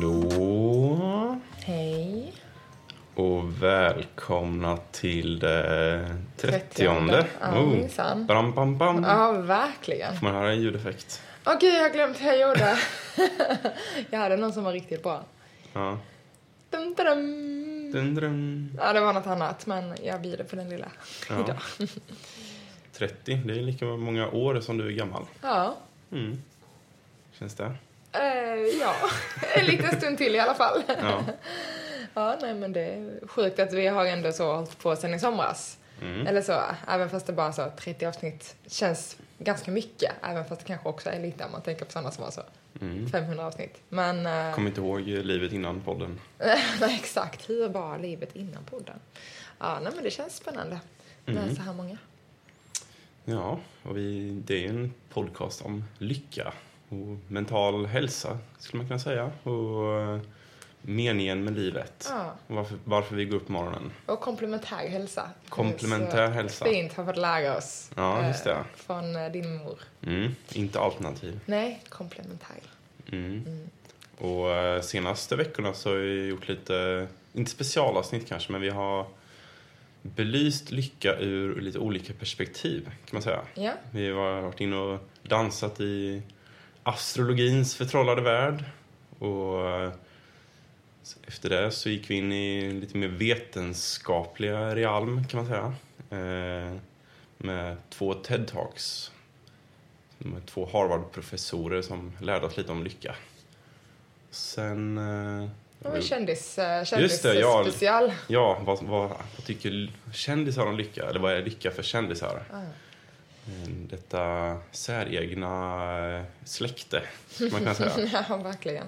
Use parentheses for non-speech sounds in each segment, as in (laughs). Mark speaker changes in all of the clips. Speaker 1: Hallå
Speaker 2: Hej.
Speaker 1: och välkomna till det trettionde. Oh.
Speaker 2: Trettionde. Ja, minsann.
Speaker 1: bam, bam, bam.
Speaker 2: Ja, verkligen.
Speaker 1: Får man höra en ljudeffekt?
Speaker 2: Åh gud, jag har glömt hur jag gjorde. (laughs) jag hade någon som var riktigt bra.
Speaker 1: Ja.
Speaker 2: Dum, dum.
Speaker 1: Dun, dun.
Speaker 2: Ja, det var något annat, men jag bjuder på den lilla
Speaker 1: ja.
Speaker 2: idag.
Speaker 1: 30, det är lika många år som du är gammal.
Speaker 2: Ja.
Speaker 1: Mm. Känns det?
Speaker 2: Eh, ja, en liten stund till i alla fall.
Speaker 1: Ja.
Speaker 2: Ja, nej men det är sjukt att vi har ändå så hållit på sen i somras.
Speaker 1: Mm.
Speaker 2: Eller så, även fast det bara så 30 avsnitt känns ganska mycket. Även fast det kanske också är lite om man tänker på sådana som har så
Speaker 1: Mm.
Speaker 2: 500 avsnitt. Men... eh,
Speaker 1: Kommer inte ihåg livet innan podden.
Speaker 2: (laughs) Nej, exakt. Hur var livet innan podden? Ja, nej, men det känns spännande
Speaker 1: Mm.
Speaker 2: med så här många.
Speaker 1: Ja, och vi, det är ju en podcast om lycka och mental hälsa skulle man kunna säga. Och eh, meningen med livet.
Speaker 2: Ja.
Speaker 1: Och Varför, varför vi går upp på morgonen.
Speaker 2: Och komplementär hälsa.
Speaker 1: Komplementär
Speaker 2: Så
Speaker 1: hälsa.
Speaker 2: Fint har fått lära oss.
Speaker 1: Ja,
Speaker 2: eh,
Speaker 1: just det.
Speaker 2: Från eh, din mor.
Speaker 1: Mm, inte alternativ.
Speaker 2: Nej, komplementär.
Speaker 1: Mm. Och eh, senaste veckorna så har vi gjort lite, inte specialavsnitt kanske, men vi har belyst lycka ur lite olika perspektiv kan man säga.
Speaker 2: Ja,
Speaker 1: Vi har varit inne och dansat i astrologins förtrollade värld. Och eh, efter det så gick vi in i lite mer vetenskapliga realm kan man säga. Eh, Med två TED-talks. Med två Harvard-professorer som lärde oss lite om lycka. Sen... eh,
Speaker 2: och en kändis, eh,
Speaker 1: Just
Speaker 2: kändis
Speaker 1: det, ja.
Speaker 2: special.
Speaker 1: Ja, vad, vad, vad tycker kändisar om lycka? Eller vad är lycka för kändisar?
Speaker 2: Ah.
Speaker 1: Eh, Detta säregna eh, släkte, skulle man kunna säga.
Speaker 2: (laughs) (laughs) Ja, verkligen.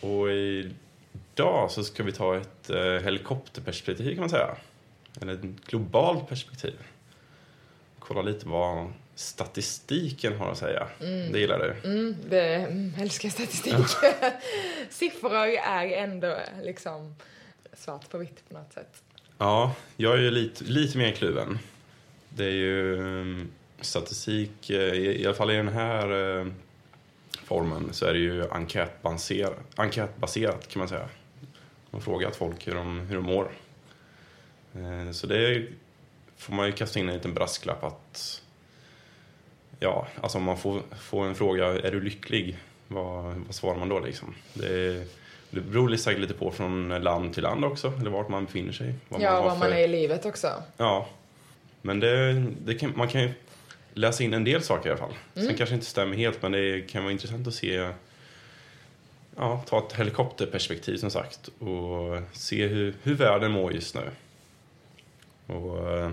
Speaker 1: Och idag så ska vi ta ett eh, helikopterperspektiv, kan man säga. Eller ett globalt perspektiv. Kolla lite vad statistiken har att säga. Det gillar du.
Speaker 2: Mm, det mm, älskar statistik. (laughs) Siffror är ändå liksom svart på vitt på något sätt.
Speaker 1: Ja, jag är ju lite, lite mer kluven. Det är ju ehm, statistik, eh, i, i alla fall i den här eh, formen så är det ju enkätbaserat, enkätbaserat kan man säga. Man har frågat folk hur de, hur de mår. Eh, så det är- får man ju kasta in en liten brasklapp att ja, alltså om man får, får en fråga, är du lycklig? Vad, vad svarar man då liksom? Det, är, det beror säkert lite på från land till land också, eller vart man befinner sig. vad
Speaker 2: ja,
Speaker 1: har
Speaker 2: var man
Speaker 1: för-
Speaker 2: är i livet också.
Speaker 1: Ja, men det, det kan, man kan ju läsa in en del saker i alla fall. Sen kanske inte stämmer helt, men det kan vara intressant att se Ja, ta ett helikopterperspektiv som sagt och se hur, hur världen mår just nu. Och, eh,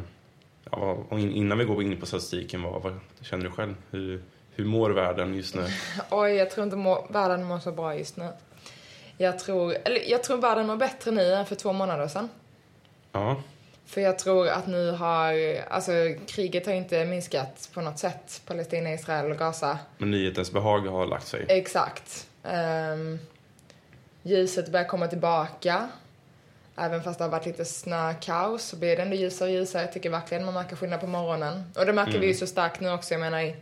Speaker 1: ja, vad- och in- innan vi går in på statistiken, vad, vad känner du själv? Hur, hur mår världen just nu?
Speaker 2: Oj, jag tror inte må, världen mår så bra just nu. Jag tror, eller jag tror världen mår bättre nu än för två månader sedan.
Speaker 1: Ja,
Speaker 2: För jag tror att nu har, alltså kriget har inte minskat på något sätt. Palestina, Israel och Gaza.
Speaker 1: men nyhetens behag har lagt sig.
Speaker 2: Exakt. Ehm, ljuset börjar komma tillbaka. Även fast det har varit lite snökaos så blir det ändå ljusare och ljusare. Jag tycker verkligen man märker skillnad på morgonen. Och det märker vi ju så starkt nu också. Jag menar i-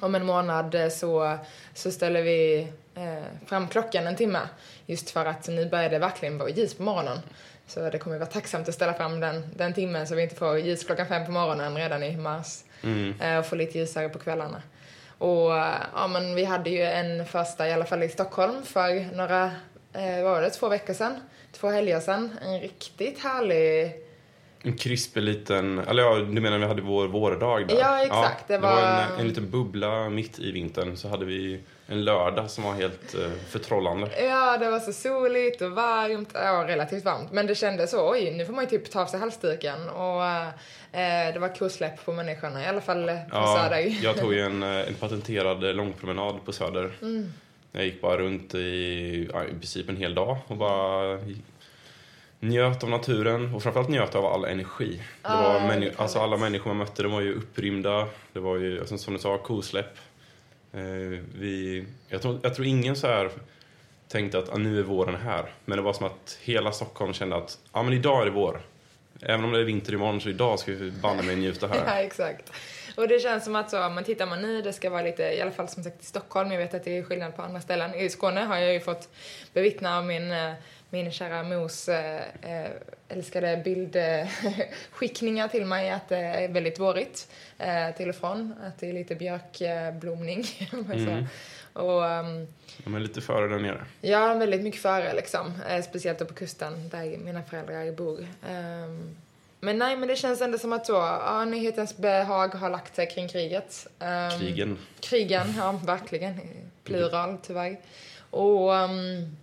Speaker 2: om en månad eh, så, så ställer vi eh, fram klockan en timme. Just för att nu börjar det verkligen vara ljus på morgonen. Så det kommer vara tacksamt att ställa fram den, den timmen så vi inte får ljus klockan fem på morgonen redan i mars. Eh, och få lite ljusare på kvällarna. Och eh, ja, men vi hade ju en första, i alla fall i Stockholm, för några, eh, vad var det, två veckor sedan? Två helger sedan. En riktigt härlig
Speaker 1: En krispig liten, eller ja, du menar vi hade vår vårdag där?
Speaker 2: Ja, exakt.
Speaker 1: det
Speaker 2: Det
Speaker 1: var,
Speaker 2: var-
Speaker 1: en, en liten bubbla mitt i vintern. Så hade vi en lördag som var helt eh, förtrollande.
Speaker 2: Ja, det var så soligt och varmt. Ja, relativt varmt. Men det kändes så, oj, nu får man ju typ ta av sig halsduken. Och eh, det var kosläpp på människorna, i alla fall eh, på
Speaker 1: Ja,
Speaker 2: Söder.
Speaker 1: jag tog ju en, eh, en patenterad långpromenad på Söder.
Speaker 2: Mm.
Speaker 1: Jag gick bara runt i, ja, i princip en hel dag och bara njöt av naturen och framförallt njöt av all energi. Det
Speaker 2: Ja,
Speaker 1: var
Speaker 2: det
Speaker 1: männi-
Speaker 2: är
Speaker 1: alltså
Speaker 2: härligt.
Speaker 1: alla människor man mötte de var ju upprymda. Det var ju alltså, som du sa, kosläpp. Eh, vi, jag, tror, jag tror ingen så här tänkte att ah, nu är våren här. Men det var som att hela Stockholm kände att ah, men idag är det vår. Även om det är vinter imorgon så idag ska vi banne mig njuta här.
Speaker 2: (laughs) Ja, exakt. Och det känns som att så, men tittar man nu, det ska vara lite, i alla fall som sagt i Stockholm, jag vet att det är skillnad på andra ställen. I Skåne har jag ju fått bevittna av min, eh, min kära mors eh, eh, älskade bildskickningar till mig att det är väldigt vårigt eh, till och från, att det är lite björkblomning. (laughs)
Speaker 1: Mm.
Speaker 2: och, ehm,
Speaker 1: De är lite före där nere.
Speaker 2: Ja, väldigt mycket före liksom. Eh, speciellt då på kusten där mina föräldrar bor. Ehm, men nej, men det känns ändå som att så, ja, nyhetens behag har lagt sig kring kriget. Ehm,
Speaker 1: Krigen.
Speaker 2: Krigen, ja verkligen. Plural tyvärr. Och ehm,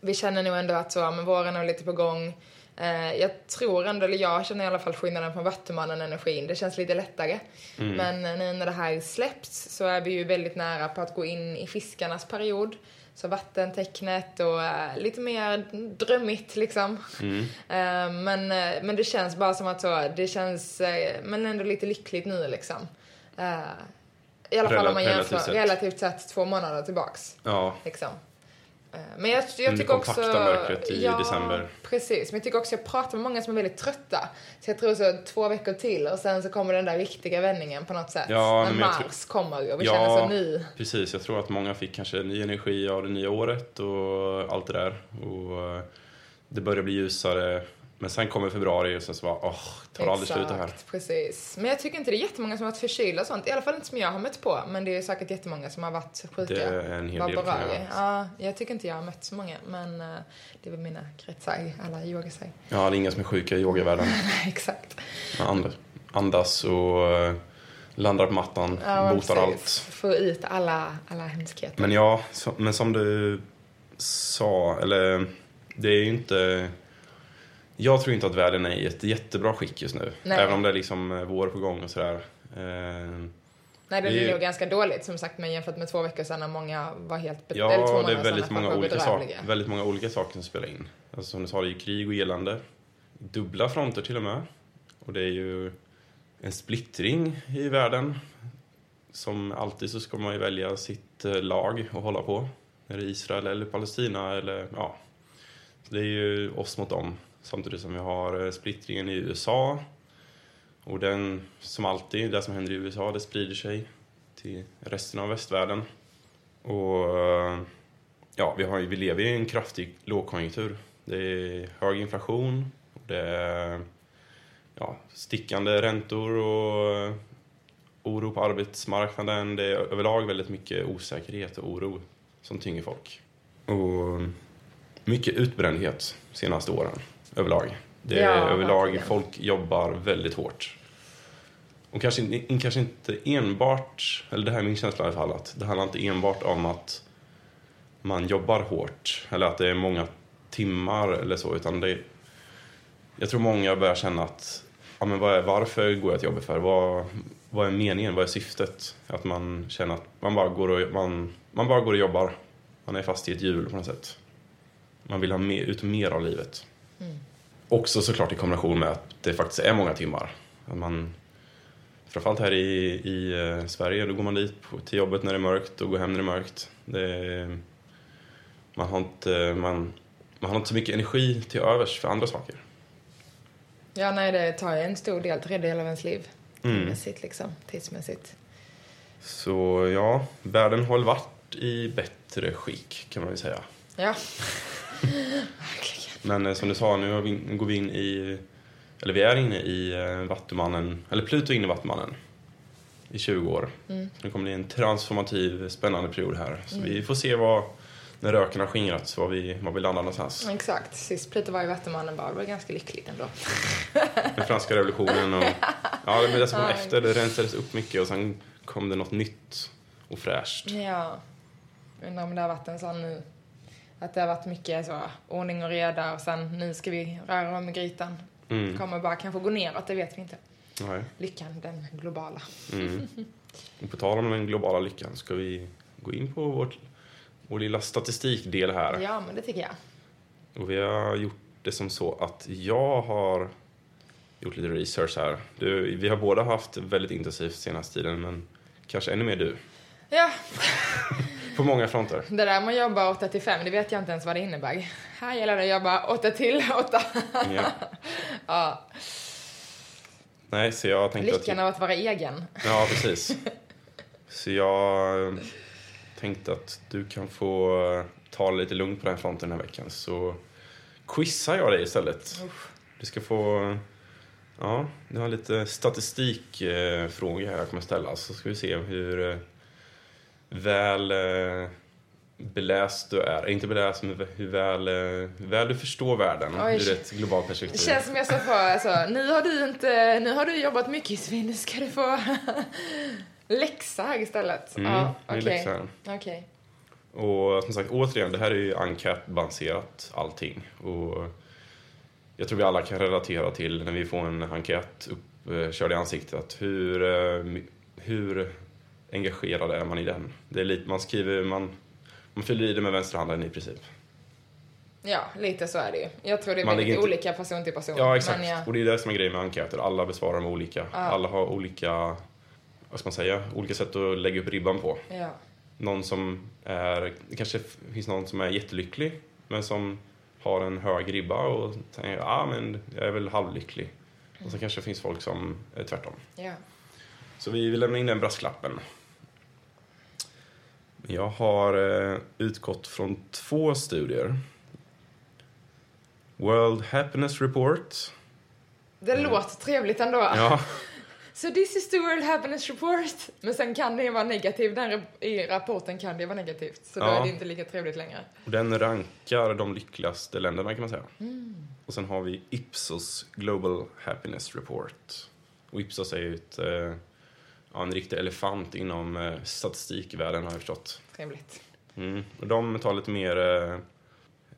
Speaker 2: vi känner nog ändå att så, ja, men våren är lite på gång. Eh, jag tror ändå, eller jag känner i alla fall skillnaden från Vattumannen-energin. Det känns lite lättare.
Speaker 1: Mm.
Speaker 2: Men eh, nu när det här släpps så är vi ju väldigt nära på att gå in i fiskarnas period. Så vattentecknet och eh, lite mer drömmigt liksom.
Speaker 1: Mm.
Speaker 2: Eh, men, eh, men det känns bara som att så, det känns, eh, men ändå lite lyckligt nu liksom. Eh, I alla fall om man
Speaker 1: Rela-
Speaker 2: jämför,
Speaker 1: relativt sett.
Speaker 2: relativt sett två månader tillbaks.
Speaker 1: Ja,
Speaker 2: Liksom. Eh, Men jag, jag
Speaker 1: det
Speaker 2: tycker också...
Speaker 1: kompakta mörkret i december.
Speaker 2: precis. Men jag tycker också jag pratar med många som är väldigt trötta. Så jag tror så två veckor till och sen så kommer den där riktiga vändningen på något sätt.
Speaker 1: Ja,
Speaker 2: när
Speaker 1: men jag
Speaker 2: mars
Speaker 1: tror-
Speaker 2: kommer och vi
Speaker 1: Ja.
Speaker 2: känner så nu.
Speaker 1: precis. Jag tror att många fick kanske ny energi av det nya året och allt det där. Och eh, det börjar bli ljusare. Men sen kommer februari och sen så bara, åh, tar det aldrig slut det här.
Speaker 2: Exakt, precis. Men jag tycker inte det är jättemånga som har varit förkylda och sånt. I alla fall inte som jag har mött på. Men det är säkert jättemånga som har varit sjuka.
Speaker 1: Det är en hel
Speaker 2: Var
Speaker 1: del. kan jag
Speaker 2: berörda.
Speaker 1: säga.
Speaker 2: Ja, jag tycker inte jag har mött så många. Men eh, det är väl mina kretsar, alla yogasar.
Speaker 1: Ja, det är inga som är sjuka i yogavärlden.
Speaker 2: (laughs) Exakt.
Speaker 1: Man and- andas och eh, landar på mattan,
Speaker 2: Ja, men
Speaker 1: botar
Speaker 2: precis.
Speaker 1: allt.
Speaker 2: Få ut alla, alla hemskheter.
Speaker 1: Men ja, så, men som du sa, eller det är ju inte... Jag tror inte att världen är i ett jättebra skick just nu.
Speaker 2: Nej.
Speaker 1: Även om det är liksom eh, vår på gång och sådär. Eh,
Speaker 2: Nej, det
Speaker 1: Det är
Speaker 2: är
Speaker 1: ju-
Speaker 2: nog ganska dåligt som sagt, men jämfört med två veckor sedan när många var helt bet- typ eller två
Speaker 1: Ja, det
Speaker 2: månader
Speaker 1: är
Speaker 2: sedan
Speaker 1: väldigt
Speaker 2: när folk
Speaker 1: många,
Speaker 2: var
Speaker 1: olika
Speaker 2: bedrövliga.
Speaker 1: saker, väldigt många olika saker som spelar in. Alltså, som du sa, det är ju krig och elände. Dubbla fronter till och med. Och det är ju en splittring i världen. Som alltid så ska man ju välja sitt eh, lag att hålla på. Är det Israel eller Palestina eller ja. Så det är ju oss mot dem. Samtidigt som vi har eh, splittringen i USA. Och den, som alltid, det som händer i USA det sprider sig till resten av västvärlden. Och eh, ja, vi, har, ju- vi lever i en kraftig lågkonjunktur. Det är hög inflation, det är ja, stickande räntor och eh, oro på arbetsmarknaden. Det är överlag väldigt mycket osäkerhet och oro som tynger folk. Och mycket utbrändhet de senaste åren överlag. Det är
Speaker 2: Ja,
Speaker 1: överlag,
Speaker 2: verkligen.
Speaker 1: folk jobbar väldigt hårt. Och kanske, in- kanske inte enbart, eller det här är min känsla i alla fall, att det handlar inte enbart om att man jobbar hårt eller att det är många timmar eller så utan det jag tror många börjar känna att ja, men vad är, varför går jag till jobbet för? Vad, vad är meningen? Vad är syftet? Att man känner att man bara går och, man, man bara går och jobbar. Man är fast i ett hjul på något sätt. Man vill ha mer, ut mer av livet.
Speaker 2: Mm.
Speaker 1: Också såklart i kombination med att det faktiskt är många timmar. Att man, framförallt här i, i eh, Sverige, då går man dit på, till jobbet när det är mörkt och går hem när det är mörkt. Det, är- man, har inte, eh, man, man har inte så mycket energi till övers för andra saker.
Speaker 2: Ja, nej, det tar ju en stor del, tredjedel av ens liv.
Speaker 1: Mm.
Speaker 2: Mässigt, liksom, tidsmässigt.
Speaker 1: Så ja, världen har väl varit i bättre skick kan man ju säga.
Speaker 2: Ja. Verkligen.
Speaker 1: Men eh, som du sa, nu har vi- nu går vi in i, eller vi är inne i eh, Vattumannen, eller Pluto är inne i Vattumannen i 20 år.
Speaker 2: Mm.
Speaker 1: Så det kommer bli en transformativ, spännande period här. Så
Speaker 2: Mm.
Speaker 1: vi får se vad, när röken har skingrats, var vi, var vi landar någonstans.
Speaker 2: Exakt. Sist Pluto var i Vattumannen var det var ganska lyckligt ändå.
Speaker 1: Med franska revolutionen och... Ja, det blev det som kom
Speaker 2: Ja.
Speaker 1: efter, det rensades upp mycket och sen kom det något nytt och fräscht.
Speaker 2: Ja. Undrar om det har varit en sån nu. Att det har varit mycket så ordning och reda och sen nu ska vi röra om i grytan.
Speaker 1: Mm.
Speaker 2: Kommer bara kanske gå neråt, det vet vi inte.
Speaker 1: Nej.
Speaker 2: Lyckan, den globala.
Speaker 1: Mm. Och på tal om den globala lyckan, ska vi gå in på vårt, vår lilla statistikdel här?
Speaker 2: Ja, men det tycker jag.
Speaker 1: Och vi har gjort det som så att jag har gjort lite research här. Du, vi har båda haft väldigt intensivt senaste tiden, men kanske ännu mer du.
Speaker 2: Ja,
Speaker 1: På många fronter.
Speaker 2: Det där man jobbar 8 till 5, det vet jag inte ens vad det innebär. Här (laughs) gäller det att jobba 8 till 8.
Speaker 1: Ja.
Speaker 2: Ja.
Speaker 1: Nej, så jag tänkte
Speaker 2: Lyckan
Speaker 1: att...
Speaker 2: av att vara egen.
Speaker 1: Ja, precis. Så jag eh, tänkte att du kan få eh, ta det lite lugnt på den här fronten den här veckan så quizar jag dig istället. Du ska få... eh, Ja, du har lite statistikfrågor här jag kommer ställa så ska vi se hur eh, väl eh, beläst du är. Inte beläst, men hur väl, eh, hur väl du förstår världen
Speaker 2: Oj.
Speaker 1: ur ett globalt
Speaker 2: Det
Speaker 1: perspektiv.
Speaker 2: känns som jag sa för, alltså, nu har du inte, nu har du jobbat mycket Svin, nu ska du få (laughs) läxa här istället.
Speaker 1: Mm,
Speaker 2: ja,
Speaker 1: det är
Speaker 2: okej.
Speaker 1: läxan.
Speaker 2: Okej.
Speaker 1: Och som sagt, återigen, det här är ju enkätbaserat allting. Och jag tror vi alla kan relatera till när vi får en enkät uppkörd i ansiktet. Att hur, eh, my- hur engagerad är man i den? Det är lite, man skriver, man, man fyller i det med vänsterhanden i princip.
Speaker 2: Ja, lite så är det ju. Jag tror det är
Speaker 1: Man
Speaker 2: väldigt
Speaker 1: ligger inte-
Speaker 2: olika person till person.
Speaker 1: Ja, exakt.
Speaker 2: Men ja,
Speaker 1: Och det är det som är grejen med enkäter. Alla besvarar dem olika. Alla har olika, vad ska man säga, olika sätt att lägga upp ribban på.
Speaker 2: ja.
Speaker 1: någon som är, det kanske f- finns någon som är jättelycklig men som har en hög ribba och tänker ah, men jag är väl halvlycklig. Och så kanske det finns folk som är tvärtom.
Speaker 2: ja.
Speaker 1: Så vi vill lämna in den brasklappen. Jag har eh, utgått från två studier. World Happiness Report.
Speaker 2: Det låter trevligt ändå.
Speaker 1: Mm. Ja,
Speaker 2: So this is the World Happiness Report. Men sen kan det ju vara negativt. Den rap- i rapporten kan det vara negativt. Så då
Speaker 1: Ja.
Speaker 2: är det inte lika trevligt längre.
Speaker 1: och den rankar de lyckligaste länderna kan man säga. Och sen har vi Ipsos Global Happiness Report. Och Ipsos är ju ett, eh, ja, en riktig elefant inom eh, statistikvärlden har jag förstått.
Speaker 2: Trevligt.
Speaker 1: Mm. Och de tar lite mer, eh,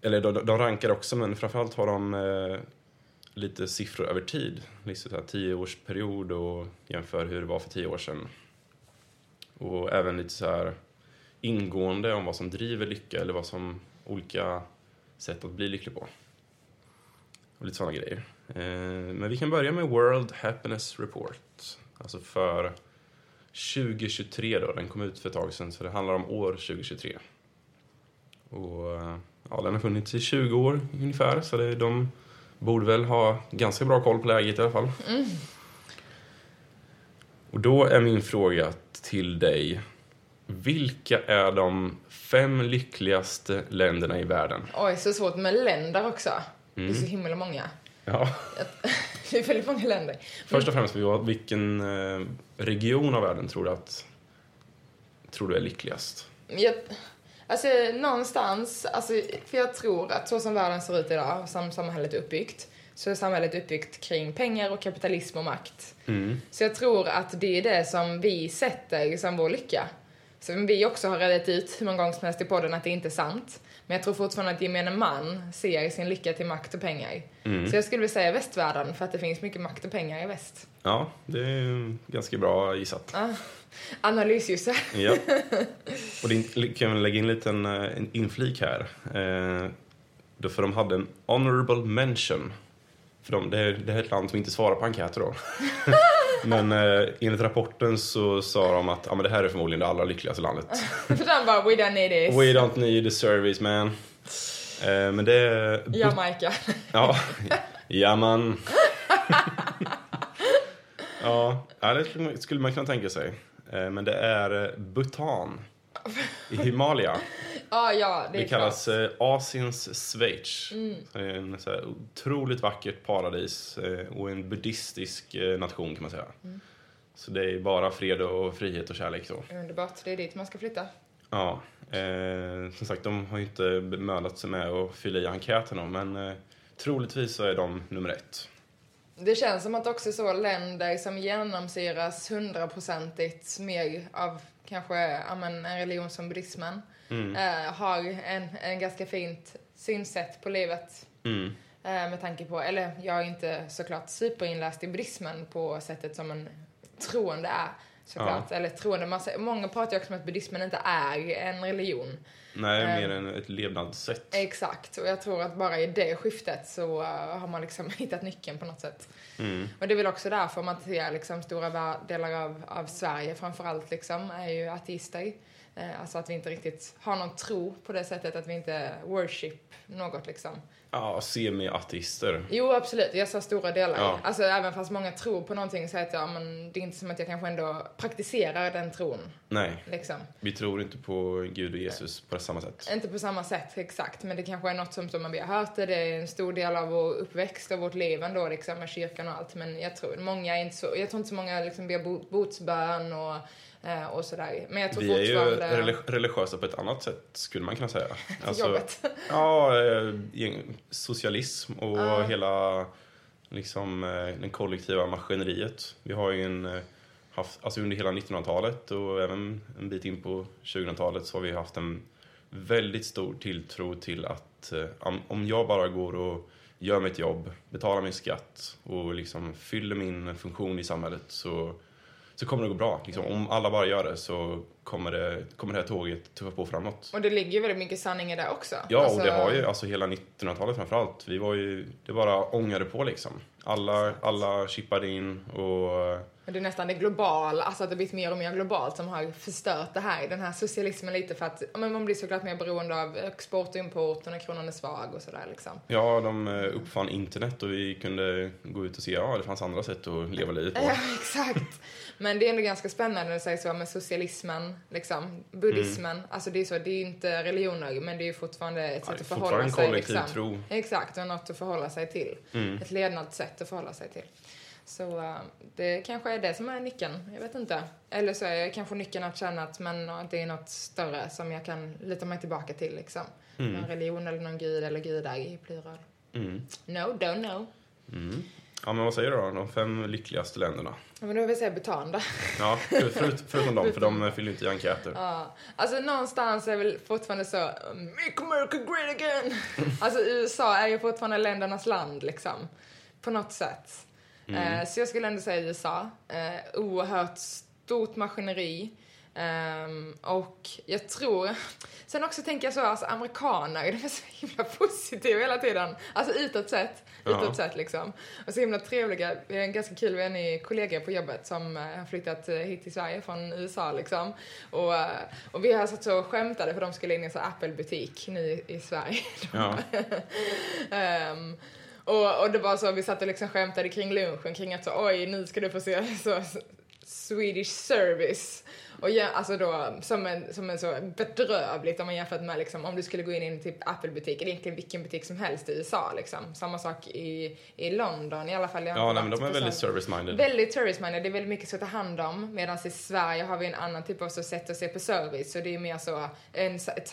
Speaker 1: eller de, de rankar också men framförallt har de eh, lite siffror över tid. Liksom så här tioårsperiod och jämför hur det var för tio år sedan. Och även lite så här ingående om vad som driver lycka eller vad som olika sätt att bli lycklig på. Och lite sådana grejer. Eh, Men vi kan börja med World Happiness Report. Alltså för 2023 då, den kom ut för ett tag sedan så det handlar om år 2023. Och eh, ja, den har funnits i 20 år ungefär så det, de borde väl ha ganska bra koll på läget i alla fall. Och då är min fråga till dig. Vilka är de fem lyckligaste länderna i världen? Mm.
Speaker 2: Oj, så svårt med länder också. Det är så himla många. (laughs)
Speaker 1: Ja.
Speaker 2: Det är väldigt många länder.
Speaker 1: Först och främst, vill jag- vilken eh, region av världen tror du att tror du är lyckligast?
Speaker 2: Men Jag, alltså någonstans, alltså, för jag tror att så som världen ser ut idag, som samhället är uppbyggt, så är samhället uppbyggt kring pengar och kapitalism och makt. Så jag tror att det är det som vi sätter som vår lycka. Som vi också har redat ut hur många gånger som helst i podden att det inte är sant. Men jag tror fortfarande att gemene man ser sin lycka till makt och pengar.
Speaker 1: Mm.
Speaker 2: Så jag skulle vilja säga västvärlden för att det finns mycket makt och pengar i väst.
Speaker 1: Ja, det är ganska bra gissat.
Speaker 2: Ah, analysljuse.
Speaker 1: Ja. Och det kan jag lägga in en liten eh, en inflik här. Eh, då för de hade en honorable mention. För de, det, är, det här är ett land som inte svarar på enkäter då. (laughs) Men eh, enligt rapporten så sa de att ja, men det här är förmodligen det allra lyckligaste landet.
Speaker 2: (laughs) för den bara, we don't need this.
Speaker 1: We don't need the service man. Eh, men det är
Speaker 2: Jamaica.
Speaker 1: Ja, ja man. ja, ja, det skulle man- skulle man kunna tänka sig. Eh, Men det är eh, Bhutan i Himalaya.
Speaker 2: (laughs) Ja, ja, (laughs) det,
Speaker 1: Det
Speaker 2: är Mm. kallas...
Speaker 1: kallas eh, Asiens Schweiz. Det är en så här otroligt vackert paradis eh, och en buddhistisk eh, nation kan man säga.
Speaker 2: Mm.
Speaker 1: Så det är bara fred och frihet och kärlek då.
Speaker 2: klart. Underbart, det är dit man ska flytta.
Speaker 1: Ja, eh, som sagt, de har ju inte bemödat sig med att fylla i enkäten om, men eh, troligtvis så är de nummer ett.
Speaker 2: Det känns som att också så länder som genomsyras hundraprocentigt mer av kanske ja, men, en religion som buddhismen
Speaker 1: Mm.
Speaker 2: eh, har en, en ganska fint synsätt på livet.
Speaker 1: Mm.
Speaker 2: Eh, med tanke på, eller jag är inte såklart superinläst i buddhismen på sättet som en troende är. såklart. Eller troende. Man, säger- många pratar ju också om att buddhismen inte är en religion.
Speaker 1: Nej,
Speaker 2: Ehm.
Speaker 1: mer än ett levnadssätt.
Speaker 2: Exakt. Och jag tror att bara i det skiftet så eh, har man liksom (laughs) hittat nyckeln på något sätt.
Speaker 1: Mm.
Speaker 2: Och det är väl också därför man ser liksom stora vär- delar av, av Sverige framförallt liksom är ju ateister. Eh, Alltså att vi inte riktigt har någon tro på det sättet att vi inte worship något liksom.
Speaker 1: Ja, semi-ateister.
Speaker 2: Jo absolut, jag sa stora delar.
Speaker 1: Ja.
Speaker 2: Alltså även fast många tror på någonting så att jag, men det är inte som att jag kanske ändå praktiserar den tron
Speaker 1: Nej,
Speaker 2: liksom.
Speaker 1: vi tror inte på Gud och Jesus på samma sätt.
Speaker 2: Inte på samma sätt exakt, men det kanske är något som, som vi har hört det, det är en stor del av vår uppväxt och vårt liv ändå liksom med kyrkan och allt. Men jag tror många är inte så, jag tror inte så många liksom ber bo- botsbön och, eh, och sådär. Men jag tror
Speaker 1: Vi är ju
Speaker 2: fortfarande...
Speaker 1: relig- religiösa på ett annat sätt, skulle man
Speaker 2: (laughs)
Speaker 1: kunna säga. Alltså,
Speaker 2: Jobbet.
Speaker 1: ja, eh, gäng- socialism och
Speaker 2: Ja.
Speaker 1: hela liksom, eh, den kollektiva maskineriet. Vi har ju en, eh, haft, alltså under hela 1900-talet och även en bit in på 2000-talet så har vi haft en väldigt stor tilltro till att eh, om- om jag bara går och gör mitt jobb, betalar min skatt och liksom fyller min funktion i samhället så, så kommer det gå bra. Liksom, om alla bara gör det så kommer det, kommer det här tåget tuffa på framåt.
Speaker 2: Och det ligger ju väldigt mycket sanning i det också.
Speaker 1: Ja,
Speaker 2: Alltså,
Speaker 1: och det har ju alltså hela 1900-talet framförallt. Vi var ju, det bara ångade på liksom. Alla, alla chippade in och
Speaker 2: Men det är nästan det globala, alltså att det har blivit mer och mer globalt som har förstört det här, den här socialismen lite för att ja, men man blir såklart mer beroende av export och import och när kronan är svag och sådär liksom.
Speaker 1: ja, de eh, uppfann internet och vi kunde gå ut och se, ja det fanns andra sätt att leva livet på.
Speaker 2: Ja, (laughs) typ exakt. Men det är ändå ganska spännande när du säger så med socialismen, liksom, buddhismen.
Speaker 1: Mm.
Speaker 2: Alltså det är så, det är ju inte religioner men det är ju fortfarande ett
Speaker 1: Ja,
Speaker 2: sätt
Speaker 1: det är
Speaker 2: att
Speaker 1: fortfarande
Speaker 2: förhålla
Speaker 1: en
Speaker 2: sig
Speaker 1: kollektiv
Speaker 2: liksom.
Speaker 1: tro. Mm.
Speaker 2: Exakt, och något att förhålla sig till. Ett levnadssätt att förhålla sig till. Så eh, det kanske är det som är nyckeln, jag vet inte. Eller så är kanske nyckeln att känna att men, eh, det är något större som jag kan luta mig tillbaka till liksom. Någon religion eller någon gud eller gudar i plural.
Speaker 1: Mm.
Speaker 2: No, don't know.
Speaker 1: Mm. Ja, men vad säger du då? De fem lyckligaste länderna?
Speaker 2: Ja, Men då vill jag säga Bhutan då.
Speaker 1: Ja, för, förut, förutom dem, för de eh, fyller inte i enkäter.
Speaker 2: Ja, alltså någonstans är väl fortfarande så um, Make America great again! alltså USA är ju fortfarande ländernas land liksom. På något sätt.
Speaker 1: Mm.
Speaker 2: Eh, så jag skulle ändå säga USA. Eh, oerhört stort maskineri. Ehm, och jag tror... (laughs) Sen också tänker jag så, alltså amerikaner, de är (laughs) så himla positiva hela tiden. Alltså utåt sett.
Speaker 1: Ja.
Speaker 2: Utåt sett liksom. Och så himla trevliga. Vi har en ganska kul, vi har en ny kollega på jobbet som eh, har flyttat eh, hit till Sverige från USA liksom. Och, eh, och vi har satt så och skämtade för de skulle in i en sån Apple-butik nu i- i Sverige.
Speaker 1: Ja.
Speaker 2: (laughs) Ehm, och, och det var så, vi satt och liksom skämtade kring lunchen, kring att så, oj, nu ska du få se (laughs) så, Swedish service. Och ja, alltså då, som en, som en så bedrövligt om man jämfört med liksom, om du skulle gå in i en typ Apple-butik, eller egentligen vilken butik som helst i USA liksom. Samma sak i, i London i alla fall. Jag har
Speaker 1: Ja,
Speaker 2: inte
Speaker 1: nej, men
Speaker 2: varit
Speaker 1: de är
Speaker 2: på
Speaker 1: väldigt
Speaker 2: så-
Speaker 1: service-minded.
Speaker 2: Väldigt service-minded, det är väldigt mycket så att ta hand om. Medan i Sverige har vi en annan typ av så sätt att se på service. Så det är mer så en, s- ett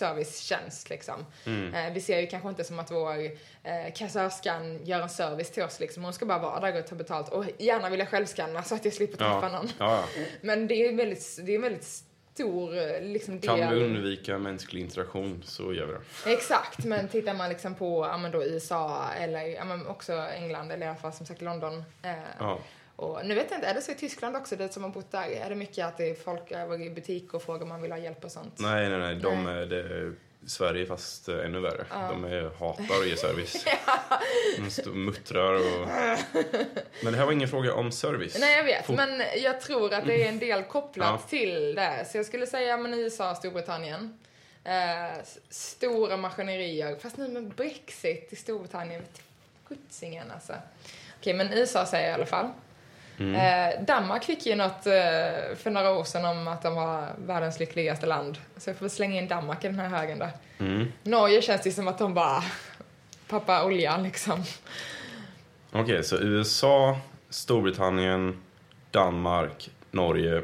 Speaker 2: samhällsservicetjänst liksom.
Speaker 1: Mm.
Speaker 2: Eh, vi ser ju kanske inte som att vår eh, kassörskan gör en service till oss liksom. Hon ska bara vara där och ta betalt. Och gärna vill jag självskanna så att jag slipper träffa
Speaker 1: Ja,
Speaker 2: någon.
Speaker 1: ja.
Speaker 2: Men det är ju väldigt, det är en väldigt stor eh, liksom, del.
Speaker 1: Kan vi undvika mänsklig interaktion så gör vi det.
Speaker 2: Exakt, men tittar man liksom på ja, men då USA eller ja, men också England eller i alla fall som sagt London. Eh,
Speaker 1: Ja.
Speaker 2: och nu vet jag inte, är det så i Tyskland också, det som har bott där? Är det mycket att det är folk över i butik och frågar om man vill ha hjälp och sånt?
Speaker 1: Nej, nej, nej. De
Speaker 2: Nej.
Speaker 1: är, det är Sverige fast eh, ännu värre. De är, hatar att ge service. De står och muttrar
Speaker 2: (laughs)
Speaker 1: och... Men det här var ingen fråga om service.
Speaker 2: (laughs) Nej, jag vet,
Speaker 1: Fort-
Speaker 2: men jag tror att det är en del kopplat
Speaker 1: Ja.
Speaker 2: till det. Så jag skulle säga men USA, Storbritannien. Eh, s- stora maskinerier, fast nu med Brexit i Storbritannien, vet sjuttsingen alltså. Okej, men USA säger jag i alla fall.
Speaker 1: Mm.
Speaker 2: Eh, Danmark fick ju något eh, för några år sedan om att de var världens lyckligaste land. Så jag får väl slänga in Danmark i den här högen där.
Speaker 1: Mm.
Speaker 2: Norge känns det som att de bara pappa olja liksom.
Speaker 1: Okej, så USA, Storbritannien, Danmark, Norge.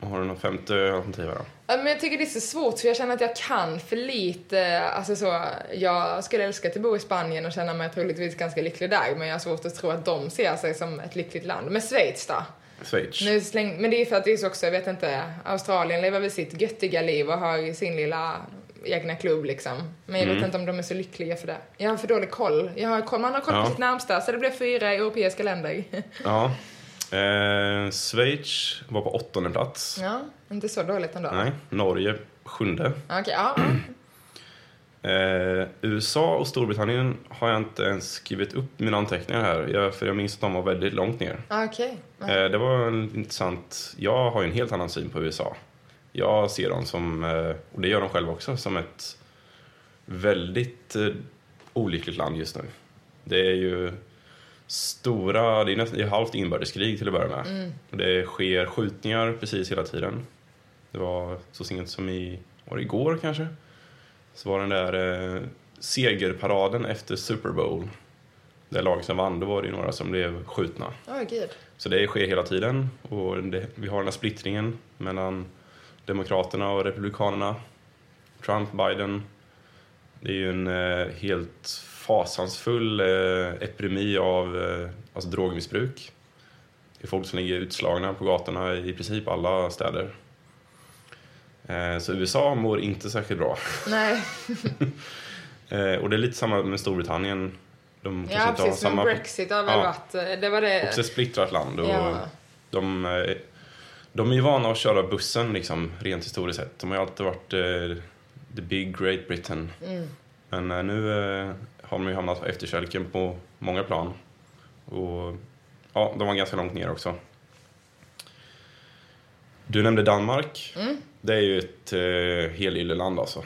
Speaker 1: Har du någon femte alternativ här då?
Speaker 2: Ja, Men jag tycker det är så svårt för jag känner att jag kan för lite. Alltså så, jag skulle älska att bo i Spanien och känna mig troligtvis ganska lycklig där men jag har svårt att tro att de ser sig som ett lyckligt land. Men Schweiz då?
Speaker 1: Schweiz.
Speaker 2: Nu släng, men det är för att det är så också, jag vet inte, Australien lever väl sitt göttiga liv och har sin lilla egna klubb liksom. Men jag
Speaker 1: Mm.
Speaker 2: vet inte om de är så lyckliga för det. Jag har för dålig koll. Jag har koll, man har koll på
Speaker 1: Ja.
Speaker 2: sitt närmsta så det blir fyra europeiska länder.
Speaker 1: Ja. Eh, Schweiz var på åttonde plats.
Speaker 2: Ja, (laughs) inte så dåligt ändå.
Speaker 1: Nej, Norge sjunde.
Speaker 2: Ja, Okej,
Speaker 1: (clears throat)
Speaker 2: ja.
Speaker 1: Eh, USA och Storbritannien har jag inte ens skrivit upp mina anteckningar här, jag, för jag minns att de var väldigt långt ner.
Speaker 2: ja. Ah, Okej. Ja.
Speaker 1: Eh, det var en intressant... Jag har ju en helt annan syn på USA. Jag ser dem som, eh, och det gör de själva också, som ett väldigt eh, olyckligt land just nu. Det är ju stora... Det är, nästan, det är halvt inbördeskrig till att börja med.
Speaker 2: Mm.
Speaker 1: Och Det sker skjutningar precis hela tiden. Det var så sent som i, var det igår kanske? Så var den där eh, segerparaden efter Super Bowl. Det lag som vann, då var det ju några som blev skjutna.
Speaker 2: Åh, gud.
Speaker 1: Så det sker hela tiden och det, vi har den här splittringen mellan Demokraterna och Republikanerna. Trump, Biden. Det är ju en eh, helt fasansfull eh, epidemi av eh, alltså drogmissbruk. Det är folk som ligger utslagna på gatorna i princip alla städer. Eh, så USA mår inte särskilt bra.
Speaker 2: Nej,
Speaker 1: Eh, och det är lite samma med Storbritannien. De kanske
Speaker 2: ja
Speaker 1: inte har
Speaker 2: precis. Men
Speaker 1: samma...
Speaker 2: Brexit har
Speaker 1: Ja.
Speaker 2: väl varit... eh, Det var det.
Speaker 1: Också ett splittrat land. Och,
Speaker 2: Ja.
Speaker 1: De, eh, de är ju vana att köra bussen liksom, rent historiskt sett. De har ju alltid varit eh, the big great Britain.
Speaker 2: Mm.
Speaker 1: Men eh, nu eh, har de ju hamnat på efterkälken på många plan. Och ja, de var ganska långt ner också. Du nämnde Danmark.
Speaker 2: Mm.
Speaker 1: Det är ju ett eh, helylle-land alltså.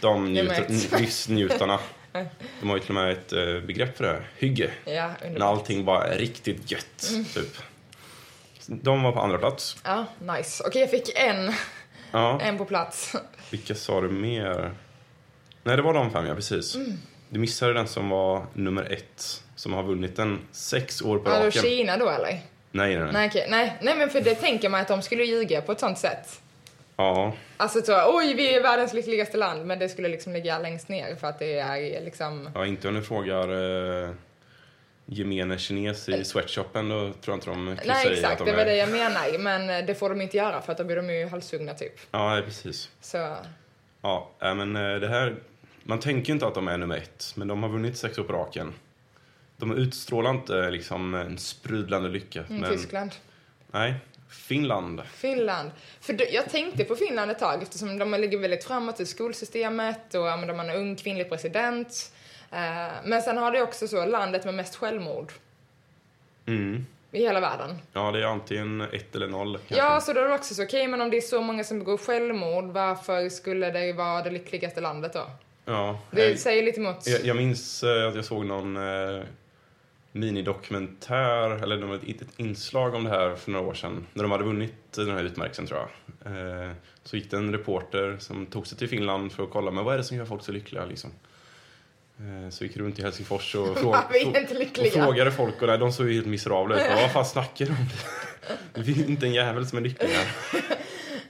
Speaker 1: De
Speaker 2: Jag
Speaker 1: njuter,
Speaker 2: märks.
Speaker 1: n- (laughs) livsnjutarna. De har ju till och med ett eh, begrepp för det. här. Hygge.
Speaker 2: Ja,
Speaker 1: När
Speaker 2: underbart.
Speaker 1: allting bara är riktigt gött, typ. De var på andra plats.
Speaker 2: Ja, nice. Okej, jag fick en.
Speaker 1: Ja.
Speaker 2: En på plats.
Speaker 1: Vilka sa du mer? Nej, det var de fem, ja precis. Du missade den som var nummer ett, som har vunnit den sex år på
Speaker 2: Alltså
Speaker 1: raken. Nej,
Speaker 2: Kina då eller?
Speaker 1: nej, nej.
Speaker 2: Nej, okej. Nej, nej, men för det tänker man att de skulle ljuga på ett sånt sätt.
Speaker 1: Ja,
Speaker 2: Alltså så, oj, vi är världens lyckligaste land, men det skulle liksom ligga längst ner för att det är liksom...
Speaker 1: ja, inte om du frågar eh, gemene kines i sweatshopen, då tror jag inte de kryssar
Speaker 2: Nej,
Speaker 1: i att
Speaker 2: exakt,
Speaker 1: de
Speaker 2: det var
Speaker 1: är-
Speaker 2: det jag menar. Men eh, det får de inte göra för att då blir de ju halshuggna typ.
Speaker 1: Ja, nej, precis.
Speaker 2: Så, mm,
Speaker 1: Ja, äh, men eh, det här... Man tänker ju inte att de är nummer ett, men de har vunnit sex år på raken. De utstrålar inte eh, liksom en sprudlande lycka.
Speaker 2: mm,
Speaker 1: men,
Speaker 2: Tyskland.
Speaker 1: nej, Finland.
Speaker 2: Finland. För då- jag tänkte på Finland ett tag eftersom de ligger väldigt framåt i skolsystemet och ja, men de har en ung kvinnlig president. Eh, Men sen har det också så landet med mest självmord
Speaker 1: Mm.
Speaker 2: i hela världen.
Speaker 1: Ja, det är antingen ett eller noll. Kanske.
Speaker 2: Ja, så då är det också så, okej men om det är så många som begår självmord, varför skulle det vara det lyckligaste landet då?
Speaker 1: ja.
Speaker 2: Det
Speaker 1: eh,
Speaker 2: säger lite emot... (laughs)
Speaker 1: jag, jag minns eh, att jag såg någon eh, minidokumentär, eller det var ett, ett inslag om det här för några år sedan, när de hade vunnit den här utmärkelsen tror jag. Eh, så gick det en reporter som tog sig till Finland för att kolla, men vad är det som gör folk så lyckliga liksom? Eh, så gick runt i Helsingfors
Speaker 2: (laughs)
Speaker 1: och, fråg,
Speaker 2: Vi är inte
Speaker 1: och
Speaker 2: lyckliga.
Speaker 1: frågade folk och nej, de såg ju helt
Speaker 2: (laughs)
Speaker 1: miserabla ut. Bara, Vad fan snackar du om? (laughs) Det finns inte en jävel som är lycklig här.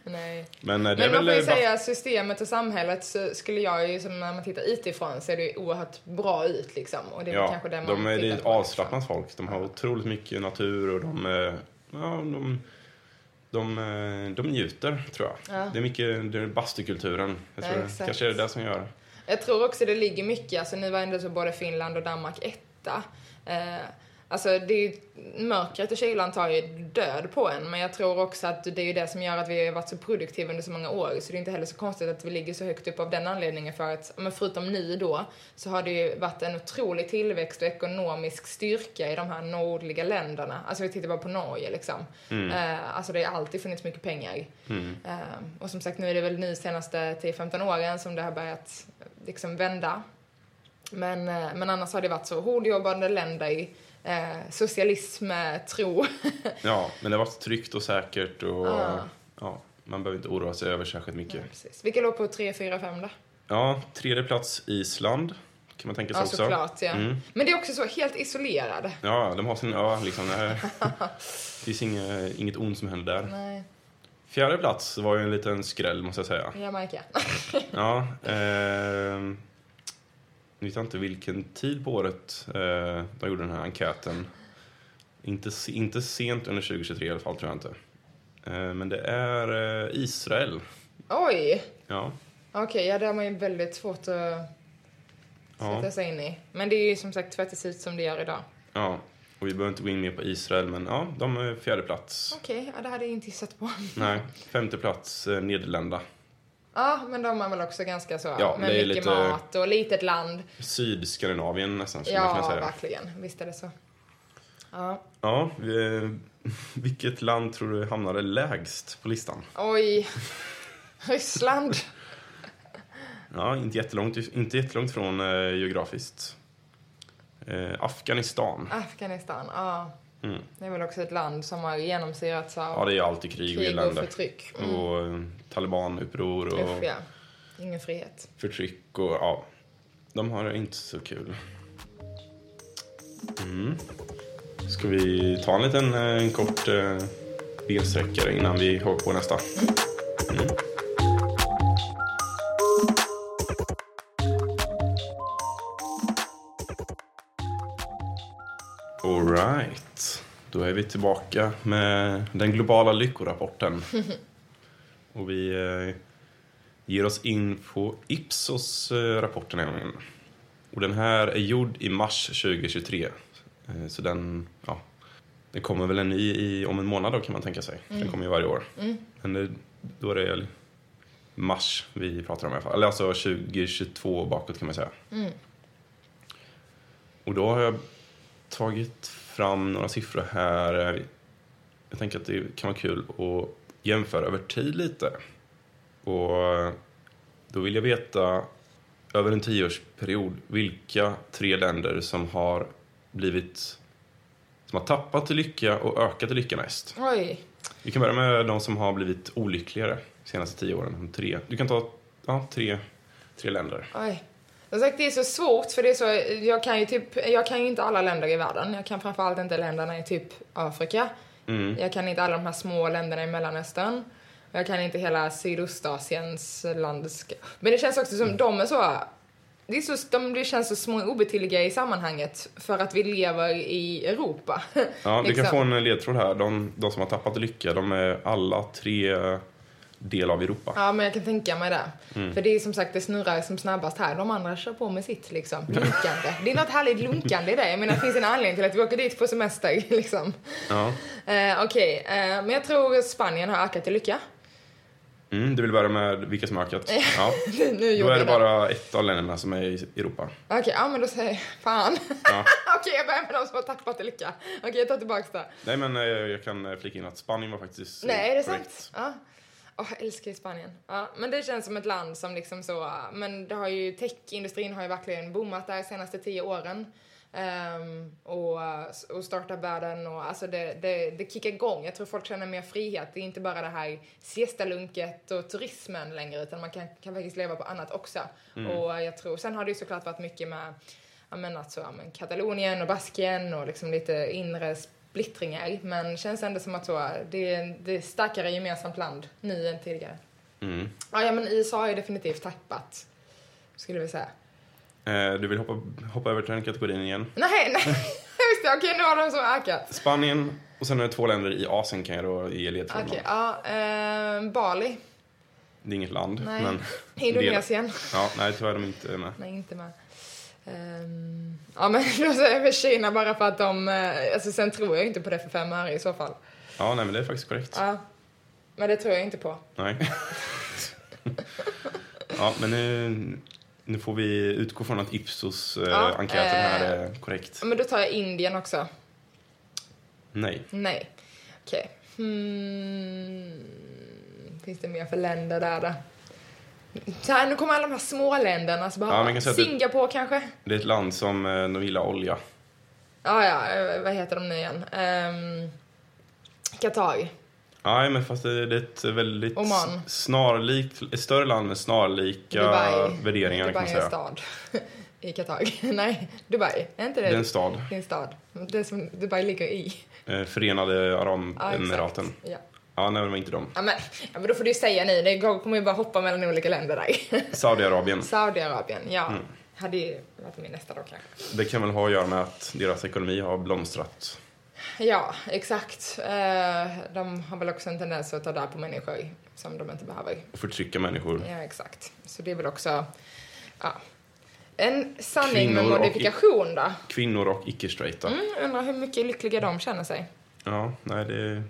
Speaker 2: Nej.
Speaker 1: Men eh, det är
Speaker 2: Men
Speaker 1: väl...
Speaker 2: man får ju
Speaker 1: eh, bara-
Speaker 2: säga systemet och samhället så skulle jag ju, som när man tittar utifrån, ser det ju oerhört bra ut liksom. Och det är väl kanske det man
Speaker 1: de är, det är
Speaker 2: tittar
Speaker 1: ett
Speaker 2: på, liksom.
Speaker 1: avslappnat folk. De har otroligt mycket natur och de, eh, ja, de, de, eh, de njuter, tror jag.
Speaker 2: Ja.
Speaker 1: Det är mycket det är bastukulturen. Jag
Speaker 2: Ja,
Speaker 1: tror det
Speaker 2: exakt.
Speaker 1: kanske är det där som gör
Speaker 2: Jag tror också det ligger mycket, alltså nu var ändå så både Finland och Danmark etta. Eh, alltså det är ju, mörkret och kylan tar ju död på en, men jag tror också att det är ju det som gör att vi har varit så produktiva under så många år, så det är inte heller så konstigt att vi ligger så högt upp av den anledningen för att, men förutom nu då, så har det ju varit en otrolig tillväxt och ekonomisk styrka i de här nordliga länderna. Alltså vi tittar bara på Norge liksom.
Speaker 1: Mm,
Speaker 2: Eh, alltså det har alltid funnits mycket pengar. Eh, och som sagt, nu är det väl nu senaste 10-15 åren som det har börjat eh, liksom vända. Men, eh, men annars har det varit så hårdjobbande länder i eh, socialism, eh, tro.
Speaker 1: Ja, men det har varit tryggt och säkert och
Speaker 2: Ja.
Speaker 1: ja, man behöver inte oroa sig över särskilt mycket.
Speaker 2: (laughs) Precis. Vilka låg på 3, 4, 5 då?
Speaker 1: Ja, tredje plats Island kan man tänka sig
Speaker 2: Ja,
Speaker 1: också.
Speaker 2: såklart ja.
Speaker 1: Mm.
Speaker 2: Men det är också så helt isolerade.
Speaker 1: Ja, de har sin ö liksom. Det,
Speaker 2: (laughs)
Speaker 1: här. det finns inget, inget ont som händer där.
Speaker 2: Nej,
Speaker 1: Fjärde plats var ju en liten skräll måste jag säga.
Speaker 2: Jamaica. (laughs)
Speaker 1: Ja, ehm, nu vet jag inte vilken tid på året eh, de gjorde den här enkäten. Inte, se- inte sent under 2023 i alla fall, tror jag inte. Eh, men det är eh, Israel.
Speaker 2: Oj!
Speaker 1: Ja.
Speaker 2: Okej, ja det har man ju väldigt svårt att
Speaker 1: ja,
Speaker 2: sätta sig in i. Men det är ju som sagt tvättas ut som det gör idag.
Speaker 1: ja. Och vi behöver inte gå in mer på Israel, men ja, de är fjärde plats.
Speaker 2: Okej, ja, det hade jag inte gissat på. (laughs)
Speaker 1: Nej, femte plats eh, Nederländerna.
Speaker 2: Ja, men de är väl också ganska så.
Speaker 1: Ja,
Speaker 2: med
Speaker 1: det är
Speaker 2: mycket
Speaker 1: lite-
Speaker 2: mat och litet land.
Speaker 1: Sydskandinavien nästan, skulle man kunna
Speaker 2: Ja,
Speaker 1: säga.
Speaker 2: verkligen. Visst är det så. Ja.
Speaker 1: Ja, vi- eh, (laughs) vilket land tror du hamnade lägst på listan?
Speaker 2: Oj. (laughs) Ryssland.
Speaker 1: Ja, inte jättelångt, inte jättelångt från eh, geografiskt. Eh, Afghanistan.
Speaker 2: Afghanistan. Ja.
Speaker 1: Mm.
Speaker 2: Det är väl också ett land som har genomsyrats av
Speaker 1: Ja, det är alltid krig och
Speaker 2: krig och
Speaker 1: elände.
Speaker 2: förtryck. Mm.
Speaker 1: Och eh, talibanuppror och
Speaker 2: Uff, ja. Ingen frihet.
Speaker 1: förtryck och ja. De har det inte så kul. Mm. Ska vi ta en liten eh, en kort eh, bensträckare innan vi hoppar på nästa? Mm. Alright. Då är vi tillbaka med den globala lyckorapporten. Och vi eh, ger oss in på Ipsos eh, rapport den här gången. Och den här är gjord i mars 2023. Eh, Så den, ja, det kommer väl en ny i, om en månad då kan man tänka sig. Den kommer ju varje år. Men det, då är det mars vi pratar om i alla fall. Eller alltså 2022 bakåt kan man säga. Och då har jag tagit fram några siffror här. Jag tänker att det kan vara kul att jämföra över tid lite. Och då vill jag veta över en tioårsperiod vilka tre länder som har blivit som har tappat i lycka och ökat i lycka mest.
Speaker 2: Oj.
Speaker 1: Vi kan börja med de som har blivit olyckligare de senaste tio åren. De Tre. Du kan ta ja, tre, tre länder.
Speaker 2: Oj. Som sagt, det är så svårt för det är så, jag kan ju typ, jag kan ju inte alla länder i världen. Jag kan framförallt inte länderna i typ Afrika.
Speaker 1: Mm.
Speaker 2: Jag kan inte alla de här små länderna i Mellanöstern. Och Jag kan inte hela Sydostasiens landska. Men det känns också som
Speaker 1: Mm.
Speaker 2: de är så... Det, är så de, det känns så små och obetydliga i sammanhanget för att vi lever i Europa.
Speaker 1: Ja, du
Speaker 2: Liksom.
Speaker 1: kan få en ledtråd här. De, de som har tappat i lycka, de är alla tre del av Europa.
Speaker 2: Ja, men jag kan tänka mig det.
Speaker 1: Mm.
Speaker 2: För det är som sagt, det snurrar som snabbast här. De andra kör på med sitt liksom. Lunkande. Det är något härligt lunkande i det. Jag menar, det finns en anledning till att vi åker dit på semester (laughs) liksom.
Speaker 1: Ja.
Speaker 2: Eh, Okej, eh, men jag tror Spanien har ökat i lycka. (laughs)
Speaker 1: Mm, du vill börja med vilka som har ökat? Ja.
Speaker 2: nu
Speaker 1: Då
Speaker 2: gjorde
Speaker 1: är det
Speaker 2: jag
Speaker 1: bara ett av länderna som är i Europa.
Speaker 2: Okej, ja men då säger jag fan. (laughs)
Speaker 1: Ja.
Speaker 2: Okej, jag börjar med de som har tappat i lycka. Okej, jag tar tillbaks det.
Speaker 1: Nej, men eh, jag kan eh, flika in att Spanien var faktiskt eh,
Speaker 2: Nej, är det
Speaker 1: korrekt.
Speaker 2: sant? Ja. Åh, jag älskar ju Spanien. Ja, men det känns som ett land som liksom så, äh, men det har ju, techindustrin har ju verkligen boomat där de senaste tio åren. Ehm, och, äh, s- och starta världen och alltså det, det, det kickar igång. Jag tror folk känner mer frihet. Det är inte bara det här siestalunket och turismen längre utan man kan, kan faktiskt leva på annat också. Och jag tror, sen har det ju såklart varit mycket med ja, men alltså, ja, men Katalonien och Baskien och liksom lite inre splittringar. Men känns ändå som att så, det, är, det är starkare gemensamt land nu än tidigare.
Speaker 1: Mm.
Speaker 2: Ja, ja men USA har ju definitivt tappat, skulle vi säga.
Speaker 1: Eh, Du vill hoppa, hoppa över till den kategorin igen.
Speaker 2: Nej, nej, (laughs) just det. Okej, nu har de som ökat.
Speaker 1: Spanien och sen är det två länder i Asien kan jag då ge ledtråden
Speaker 2: Okej,
Speaker 1: om.
Speaker 2: ja. ehm, Bali.
Speaker 1: Det är inget land,
Speaker 2: Nej.
Speaker 1: men...
Speaker 2: Indonesien.
Speaker 1: Ja, nej, tyvärr är de inte med.
Speaker 2: Nej, inte med. Ehm, ja, men (laughs) då säger vi Kina bara för att de... eh, Alltså, sen tror jag inte på det för fem öre i så fall.
Speaker 1: Ja, nej, men det är faktiskt korrekt.
Speaker 2: Ja, men det tror jag inte på.
Speaker 1: Nej. (laughs) ja, men nu, nu får vi utgå från att
Speaker 2: Ja,
Speaker 1: Ipsos-enkäten här
Speaker 2: eh.
Speaker 1: är korrekt.
Speaker 2: Ja, Men då tar jag Indien också.
Speaker 1: Nej.
Speaker 2: Nej. Okej. Hmm. Finns det mer för länder där då? Så här, nu kommer alla de här små länderna. Så
Speaker 1: Ja,
Speaker 2: bara,
Speaker 1: men jag kan säga att det-
Speaker 2: Singapore kanske?
Speaker 1: Det är ett land som eh, de gillar olja.
Speaker 2: Ja, ja. eh, Vad heter de nu igen? Ehm, Qatar.
Speaker 1: Nej, men fast det det är ett väldigt
Speaker 2: Oman.
Speaker 1: s- snarlikt, ett större land med snarlika
Speaker 2: Dubai.
Speaker 1: värderingar kan
Speaker 2: Dubai
Speaker 1: man
Speaker 2: är
Speaker 1: säga.
Speaker 2: en stad. (laughs) I Qatar. (laughs) Nej, Dubai. Är inte
Speaker 1: Det
Speaker 2: det?
Speaker 1: är en stad.
Speaker 2: Det är en stad. Det är som Dubai ligger i.
Speaker 1: Eh, Förenade
Speaker 2: Ja, exakt.
Speaker 1: Arabemiraten.
Speaker 2: Ja.
Speaker 1: Ja, nej, det var inte de.
Speaker 2: Ja, men, ja, men då får du ju säga nej. Det går- kommer ju bara hoppa mellan olika länder där.
Speaker 1: Saudiarabien.
Speaker 2: Saudiarabien, ja.
Speaker 1: Mm.
Speaker 2: Hade ju varit min nästa då kanske.
Speaker 1: Det kan väl ha att göra med att deras ekonomi har blomstrat.
Speaker 2: Ja, exakt. Eh, De har väl också en tendens att ta död på människor
Speaker 1: Mm.
Speaker 2: som de inte behöver.
Speaker 1: Och förtrycka människor.
Speaker 2: Ja, exakt. Så det är väl också... Ja. En sanning
Speaker 1: Kvinnor
Speaker 2: med
Speaker 1: och-
Speaker 2: modifikation då.
Speaker 1: Kvinnor och icke-straighta.
Speaker 2: Mm, undrar hur mycket lyckliga de känner sig.
Speaker 1: Ja, nej det är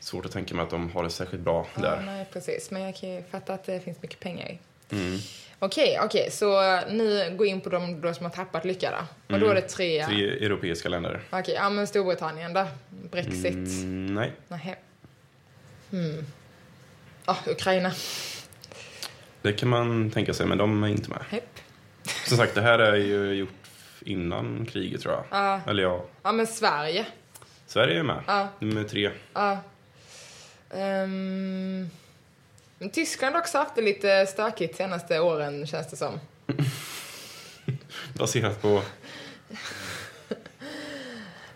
Speaker 1: svårt att tänka mig att de har det särskilt bra
Speaker 2: Ja,
Speaker 1: där.
Speaker 2: nej, precis. Men jag kan ju fatta att det finns mycket pengar i.
Speaker 1: Mm.
Speaker 2: Okej, okej. Så ni går in på de då som har tappat lycka då. Och då är det tre.
Speaker 1: Mm. Tre europeiska länder.
Speaker 2: Okej, ja men Storbritannien då. Brexit.
Speaker 1: Mm, nej.
Speaker 2: Nähä. Mm. Ja, Ah, Ukraina.
Speaker 1: Det kan man tänka sig, men de är inte med.
Speaker 2: Hepp.
Speaker 1: Som sagt, det här är ju gjort innan kriget tror jag.
Speaker 2: Ja,
Speaker 1: Eller ja,
Speaker 2: ja men Sverige.
Speaker 1: Sverige är med.
Speaker 2: Ja,
Speaker 1: Nummer tre.
Speaker 2: ja. Ehm, men Tyskland har också haft det lite stökigt senaste åren känns det som.
Speaker 1: Baserat på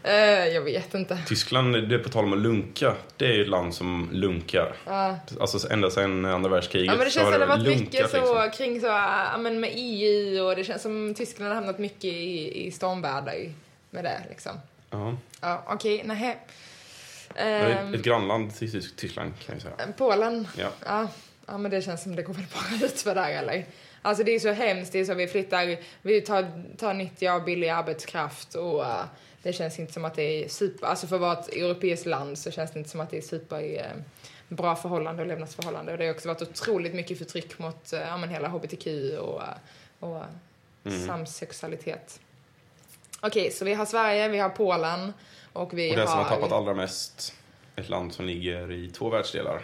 Speaker 2: Eh, jag vet inte.
Speaker 1: Tyskland, det är på tal om att lunka. Det är ju ett land som lunkar.
Speaker 2: Ja.
Speaker 1: Alltså ända sedan andra världskriget
Speaker 2: Ja men det
Speaker 1: så
Speaker 2: känns som
Speaker 1: har
Speaker 2: det har varit
Speaker 1: lunkat,
Speaker 2: mycket så
Speaker 1: liksom.
Speaker 2: kring så, ja men med EU och det känns som Tyskland har hamnat mycket i, i stormväder med det liksom.
Speaker 1: Ja.
Speaker 2: Ja, okej, nähä.
Speaker 1: Det är
Speaker 2: Ehm,
Speaker 1: ett grannland till Tys- Tyskland kan jag säga.
Speaker 2: Polen.
Speaker 1: Ja.
Speaker 2: Ja, ja, men det känns som det går väl bara (laughs) ut för där eller? Alltså det är så hemskt, det är så vi flyttar, vi tar, tar nyttiga och billig arbetskraft och eh, det känns inte som att det är super, alltså för att vara ett europeiskt land så känns det inte som att det är super eh, bra förhållande och levnadsförhållande och det har också varit otroligt mycket förtryck mot eh, ja, men hela hbtq och, eh, och
Speaker 1: Mm.
Speaker 2: samsexualitet. Okej, så vi har Sverige, vi har Polen och vi
Speaker 1: Och
Speaker 2: har...
Speaker 1: det som har tappat allra mest, ett land som ligger i två världsdelar.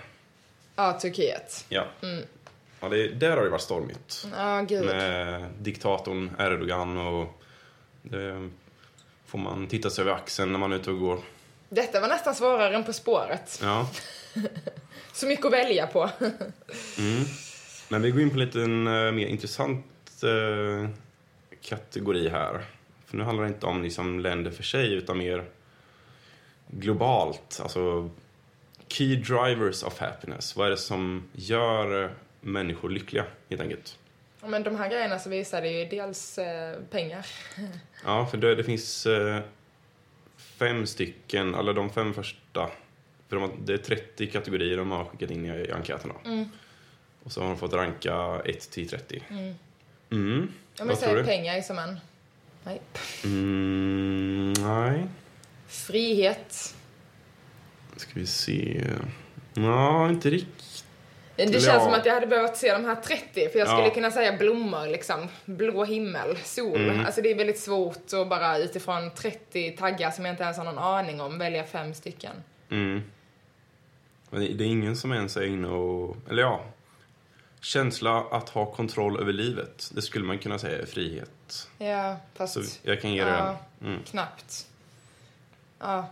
Speaker 2: Ja, Turkiet.
Speaker 1: Ja.
Speaker 2: Mm.
Speaker 1: ja det, där har det varit stormigt. Mm.
Speaker 2: Ja, gud.
Speaker 1: Med diktatorn Erdogan och det får man titta sig över axeln när man är ute och går.
Speaker 2: Detta var nästan svårare än På spåret.
Speaker 1: Ja.
Speaker 2: Så mycket att välja på.
Speaker 1: Mm. Men vi går in på en liten eh, mer intressant eh, kategori här. För nu handlar det inte om liksom länder för sig utan mer globalt. Alltså key drivers of happiness. Vad är det som gör eh, människor lyckliga helt enkelt?
Speaker 2: Ja, Men de här grejerna så visar det ju dels eh, pengar.
Speaker 1: Ja, för det, det finns eh, fem stycken, eller de fem första. För de har, det är 30 kategorier de har skickat in i, i enkäterna.
Speaker 2: Mm.
Speaker 1: Och så har de fått ranka 1 till 30.
Speaker 2: Mm.
Speaker 1: Mm.
Speaker 2: Om jag
Speaker 1: Vad tror
Speaker 2: säger
Speaker 1: du?
Speaker 2: pengar är som en... Nej.
Speaker 1: Mm, nej.
Speaker 2: Frihet.
Speaker 1: Ska vi se. Ja, inte riktigt.
Speaker 2: Det
Speaker 1: Ja.
Speaker 2: känns som att jag hade behövt se de här 30 för jag
Speaker 1: Ja.
Speaker 2: skulle kunna säga blommor liksom. Blå himmel, sol.
Speaker 1: Mm.
Speaker 2: Alltså det är väldigt svårt att bara utifrån 30 taggar som jag inte ens har någon aning om välja fem stycken.
Speaker 1: Mm. Men det det är ingen som ens är inne och... Eller ja. Känsla att ha kontroll över livet. Det skulle man kunna säga är frihet.
Speaker 2: Ja, fast
Speaker 1: Så jag kan ge dig
Speaker 2: Ja.
Speaker 1: den. Mm.
Speaker 2: knappt. Ja,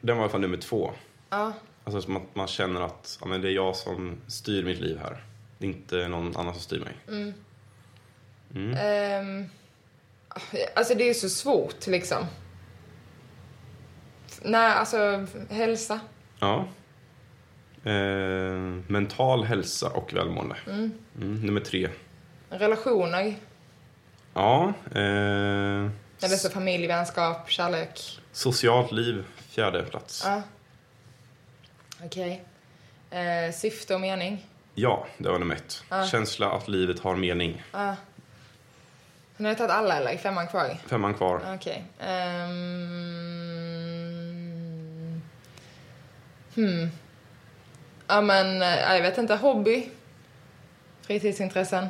Speaker 1: Den var i alla fall nummer två.
Speaker 2: ja,
Speaker 1: Alltså som att man känner att ja, men det är jag som styr mitt liv här. Det är inte någon annan som styr mig.
Speaker 2: mm.
Speaker 1: Mm.
Speaker 2: Ehm, alltså det är ju så svårt liksom. Nej, alltså hälsa.
Speaker 1: Ja. Eh, mental hälsa och välmående.
Speaker 2: Mm.
Speaker 1: Mm, nummer tre.
Speaker 2: Relationer.
Speaker 1: Ja. Eh,
Speaker 2: Eller så familj, vänskap, kärlek.
Speaker 1: Socialt liv, fjärde plats.
Speaker 2: Ja. Okej. Eh, syfte och mening.
Speaker 1: Ja, det var nummer ett.
Speaker 2: Ja.
Speaker 1: Känsla att livet har mening.
Speaker 2: Ja. Nu har jag tagit alla eller? Femman kvar?
Speaker 1: Femman kvar.
Speaker 2: Okej. Ehm, hmm. Ja men, eh, jag vet inte. Hobby. Fritidsintressen.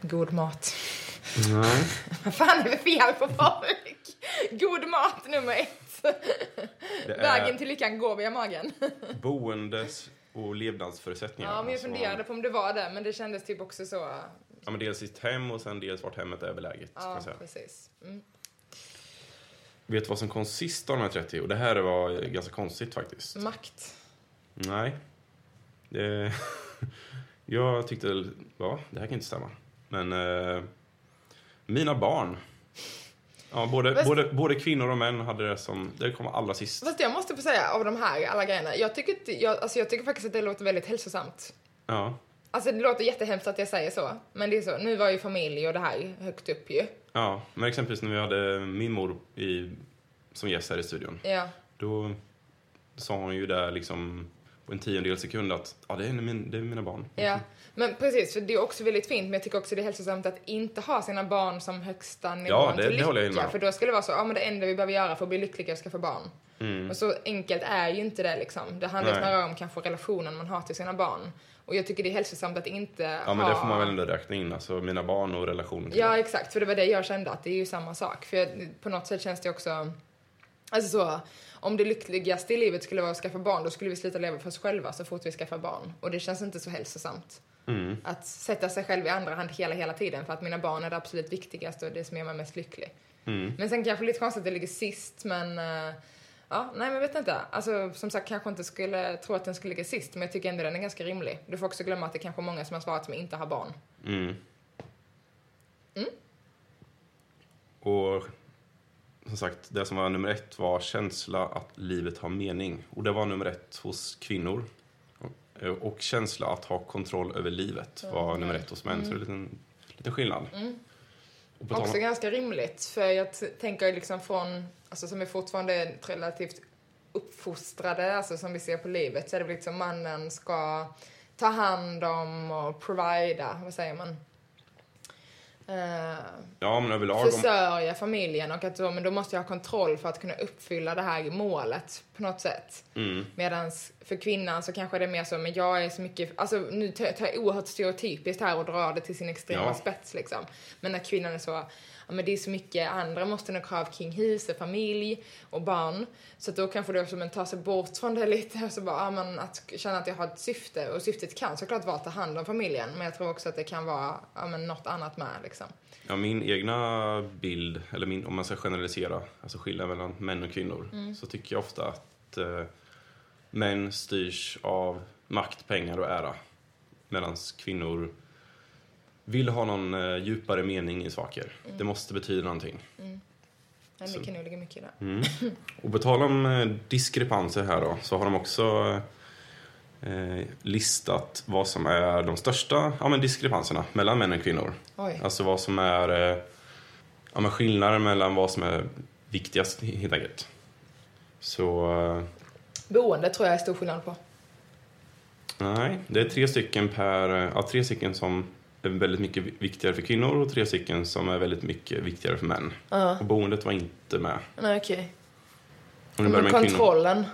Speaker 2: God mat. (laughs)
Speaker 1: Nej.
Speaker 2: Vad fan är det fel på folk? God mat nummer ett.
Speaker 1: Det är
Speaker 2: Vägen till lyckan går via magen.
Speaker 1: boendes och levnadsförutsättningar.
Speaker 2: Ja, men jag
Speaker 1: Alltså,
Speaker 2: funderade på om det var det, men det kändes typ också så.
Speaker 1: Ja, men dels sitt hem och sen dels vart hemmet är beläget. kan
Speaker 2: Ja,
Speaker 1: jag säga.
Speaker 2: precis. Mm.
Speaker 1: Vet du vad som kom sist av de här 30? Och det här var eh, ganska konstigt faktiskt.
Speaker 2: Mm. Makt.
Speaker 1: Nej. Det... (laughs) jag tyckte, ja, det här kan inte stämma. Men eh, mina barn. Ja, både,
Speaker 2: Fast-
Speaker 1: både, både kvinnor och män hade det som, det kom allra sist.
Speaker 2: Fast jag måste få säga, av de här alla grejerna, jag tycker, inte- jag, alltså jag tycker faktiskt att det låter väldigt hälsosamt.
Speaker 1: Ja,
Speaker 2: Alltså det låter jättehemskt att jag säger så, men det är så. Nu var ju familj och det här högt upp ju.
Speaker 1: ja. Men exempelvis när vi hade min mor i, som gäst här i studion.
Speaker 2: Ja.
Speaker 1: Då sa hon ju där liksom på en tiondel sekund att ja, det, är min, det är mina barn.
Speaker 2: Ja, Mm. men precis, för det är också väldigt fint, men jag tycker också det är hälsosamt att inte ha sina barn som högsta nivån
Speaker 1: Ja, det-
Speaker 2: till
Speaker 1: det håller jag
Speaker 2: lycka.
Speaker 1: med om.
Speaker 2: För då skulle det vara så, ja men det enda vi behöver göra för att bli lyckliga är att skaffa barn. Och så enkelt är ju inte det liksom. Det handlar
Speaker 1: Mm. Nej.
Speaker 2: snarare om kanske relationen man har till sina barn. Och jag tycker det är hälsosamt att inte
Speaker 1: Ja, men
Speaker 2: ha...
Speaker 1: det får man väl ändå räkna in, alltså mina barn och relationen till
Speaker 2: Ja,
Speaker 1: dem.
Speaker 2: exakt. För det var det jag kände, att det är ju samma sak. För jag, på något sätt känns det också... Alltså så, om det lyckligaste i livet skulle vara att skaffa barn, då skulle vi sluta leva för oss själva så fort vi skaffar barn. Och det känns inte så hälsosamt.
Speaker 1: Mm.
Speaker 2: Att sätta sig själv i andra hand hela, hela tiden för att mina barn är det absolut viktigaste och det som gör mig mest lycklig. Men sen kanske lite konstigt att det ligger sist, men... eh, ja, nej men vet inte. Alltså som sagt, kanske inte skulle tro att den skulle ligga sist, men jag tycker ändå den är ganska rimlig. Du får också glömma att det kanske är många som har svarat som inte har barn.
Speaker 1: Mm. Och som sagt, det som var nummer ett var känsla att livet har mening. Och det var nummer ett hos kvinnor. Och- Och känsla att ha kontroll över livet var nummer ett hos män. Så det är en liten, liten skillnad. Och på tal om-
Speaker 2: Också ganska rimligt, för jag t- tänker ju liksom från, alltså som är fortfarande relativt uppfostrade, alltså som vi ser på livet, så är det väl liksom mannen ska ta hand om och provida, vad säger man? Eh,
Speaker 1: ja, men överlag. om-
Speaker 2: försörja familjen och att då, men då måste jag ha kontroll för att kunna uppfylla det här målet på något sätt. Mm. Medan för kvinnan så kanske det är mer så, men jag är så mycket, alltså nu tar tar jag oerhört stereotypiskt här och drar det till sin extrema
Speaker 1: Ja.
Speaker 2: spets liksom. Men när kvinnan är så, ja men det är så mycket andra måste nog krav kring hus och familj och barn. Så att då kanske det också, men ta sig bort från det lite och så bara, ja men att känna att jag har ett syfte. Och syftet kan såklart vara att ta hand om familjen, men jag tror också att det kan vara, ja men något annat med liksom.
Speaker 1: Ja, min egna bild, eller min, om man ska generalisera, alltså skillnaden mellan män och kvinnor, så tycker jag ofta att eh, män styrs av makt, pengar och ära. Medan kvinnor vill ha någon eh, djupare mening i saker. Det måste betyda någonting.
Speaker 2: Men det kan nog ligga mycket i det.
Speaker 1: Och på tal om eh, diskrepanser här då, så har de också eh, listat vad som är de största ja, men diskrepanserna mellan män och kvinnor.
Speaker 2: Oj.
Speaker 1: Alltså vad som är eh, ja, men skillnaden mellan vad som är viktigast helt enkelt. Så eh,
Speaker 2: Boende tror jag är stor skillnad på.
Speaker 1: nej, det är tre stycken per, eh, ja, tre stycken som är väldigt mycket vi- viktigare för kvinnor och tre stycken som är väldigt mycket viktigare för män.
Speaker 2: Ja.
Speaker 1: Och boendet var inte med.
Speaker 2: Nej, okej.
Speaker 1: Om du börjar
Speaker 2: Men
Speaker 1: med kvinnor.
Speaker 2: kontrollen.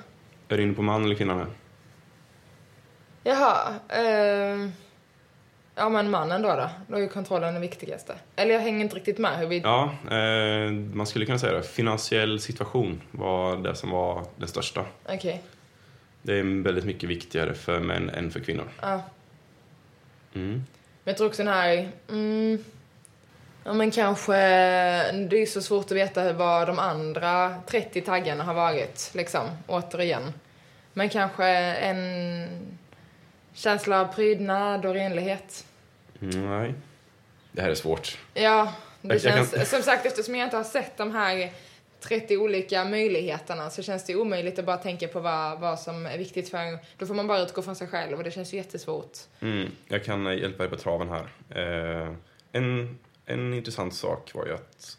Speaker 1: Är du inne på man eller kvinna nu?
Speaker 2: Jaha. ehm. ja, men mannen då då. Då är ju kontrollen den viktigaste. Eller jag hänger inte riktigt med hur vi...
Speaker 1: Ja, eh, man skulle kunna säga det. Finansiell situation var det som var den största.
Speaker 2: Okej.
Speaker 1: Det är väldigt mycket viktigare för män än för kvinnor.
Speaker 2: Ja.
Speaker 1: Mm.
Speaker 2: Men jag tror också den här... Mm, ja, men kanske... Det är ju så svårt att veta vad de andra 30 taggarna har varit, liksom. Återigen. Men kanske en känsla av prydnad och renlighet.
Speaker 1: Mm, Nej. Det här är svårt.
Speaker 2: Ja, det
Speaker 1: Jag- jag
Speaker 2: känns,
Speaker 1: kan-
Speaker 2: som sagt eftersom jag inte har sett de här 30 olika möjligheterna så känns det omöjligt att bara tänka på vad, vad som är viktigt för en. Då får man bara utgå från sig själv och det känns ju jättesvårt.
Speaker 1: Mm. Jag kan eh, hjälpa er på traven här. Eh, en, en intressant sak var ju att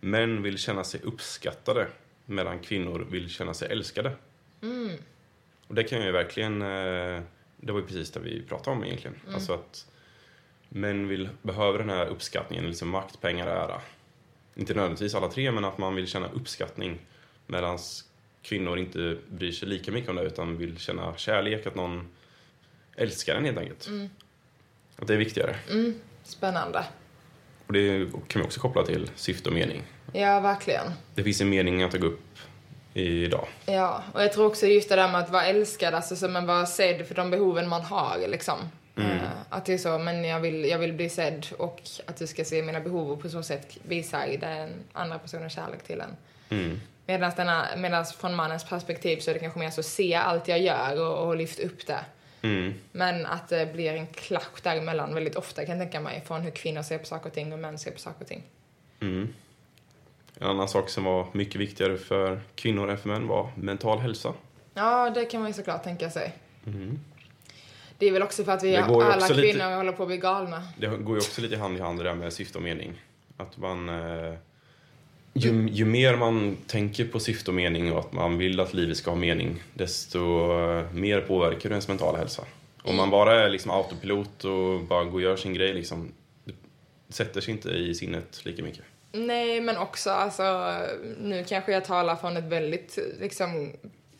Speaker 1: män vill känna sig uppskattade medan kvinnor vill känna sig älskade. Och det kan jag ju verkligen... eh, Det var ju precis det vi pratade om egentligen. Alltså att män vill, behöver den här uppskattningen, liksom makt, pengar, ära. Inte nödvändigtvis alla tre, men att man vill känna uppskattning medan kvinnor inte bryr sig lika mycket om det utan vill känna kärlek, att någon älskar en helt enkelt. Att det är viktigare.
Speaker 2: Spännande.
Speaker 1: Och det kan vi också koppla till syfte och mening.
Speaker 2: Ja, verkligen.
Speaker 1: Det finns en mening att ta upp idag.
Speaker 2: Ja, och jag tror också just det där med att vara älskad, alltså som att vara sedd för de behoven man har liksom.
Speaker 1: Mm.
Speaker 2: Eh, Att det är så, men jag vill, jag vill bli sedd och att du ska se mina behov och på så sätt visa i den andra personen kärlek till en.
Speaker 1: Mm.
Speaker 2: Medan, denna, medans från mannens perspektiv så är det kanske mer så se allt jag gör och, och lyft upp det.
Speaker 1: Mm.
Speaker 2: Men att det blir en klack däremellan väldigt ofta kan jag tänka mig från hur kvinnor ser på saker och ting och män ser på saker och ting.
Speaker 1: Mm. En annan sak som var mycket viktigare för kvinnor än för män var mental hälsa.
Speaker 2: Ja, det kan man ju såklart tänka sig. Det är väl också för att vi
Speaker 1: Mm. Det går ju
Speaker 2: alla
Speaker 1: också
Speaker 2: kvinnor
Speaker 1: lite-
Speaker 2: håller på att bli galna.
Speaker 1: Det går ju också lite hand i hand det där med syfte och mening. Att man eh, ju, ju mer man tänker på syfte och mening och att man vill att livet ska ha mening, desto eh, mer påverkar du ens mentala hälsa. Om man bara är liksom autopilot och bara går och gör sin grej, liksom, det sätter sig inte i sinnet lika mycket.
Speaker 2: Nej, men också alltså, nu kanske jag talar från ett väldigt liksom,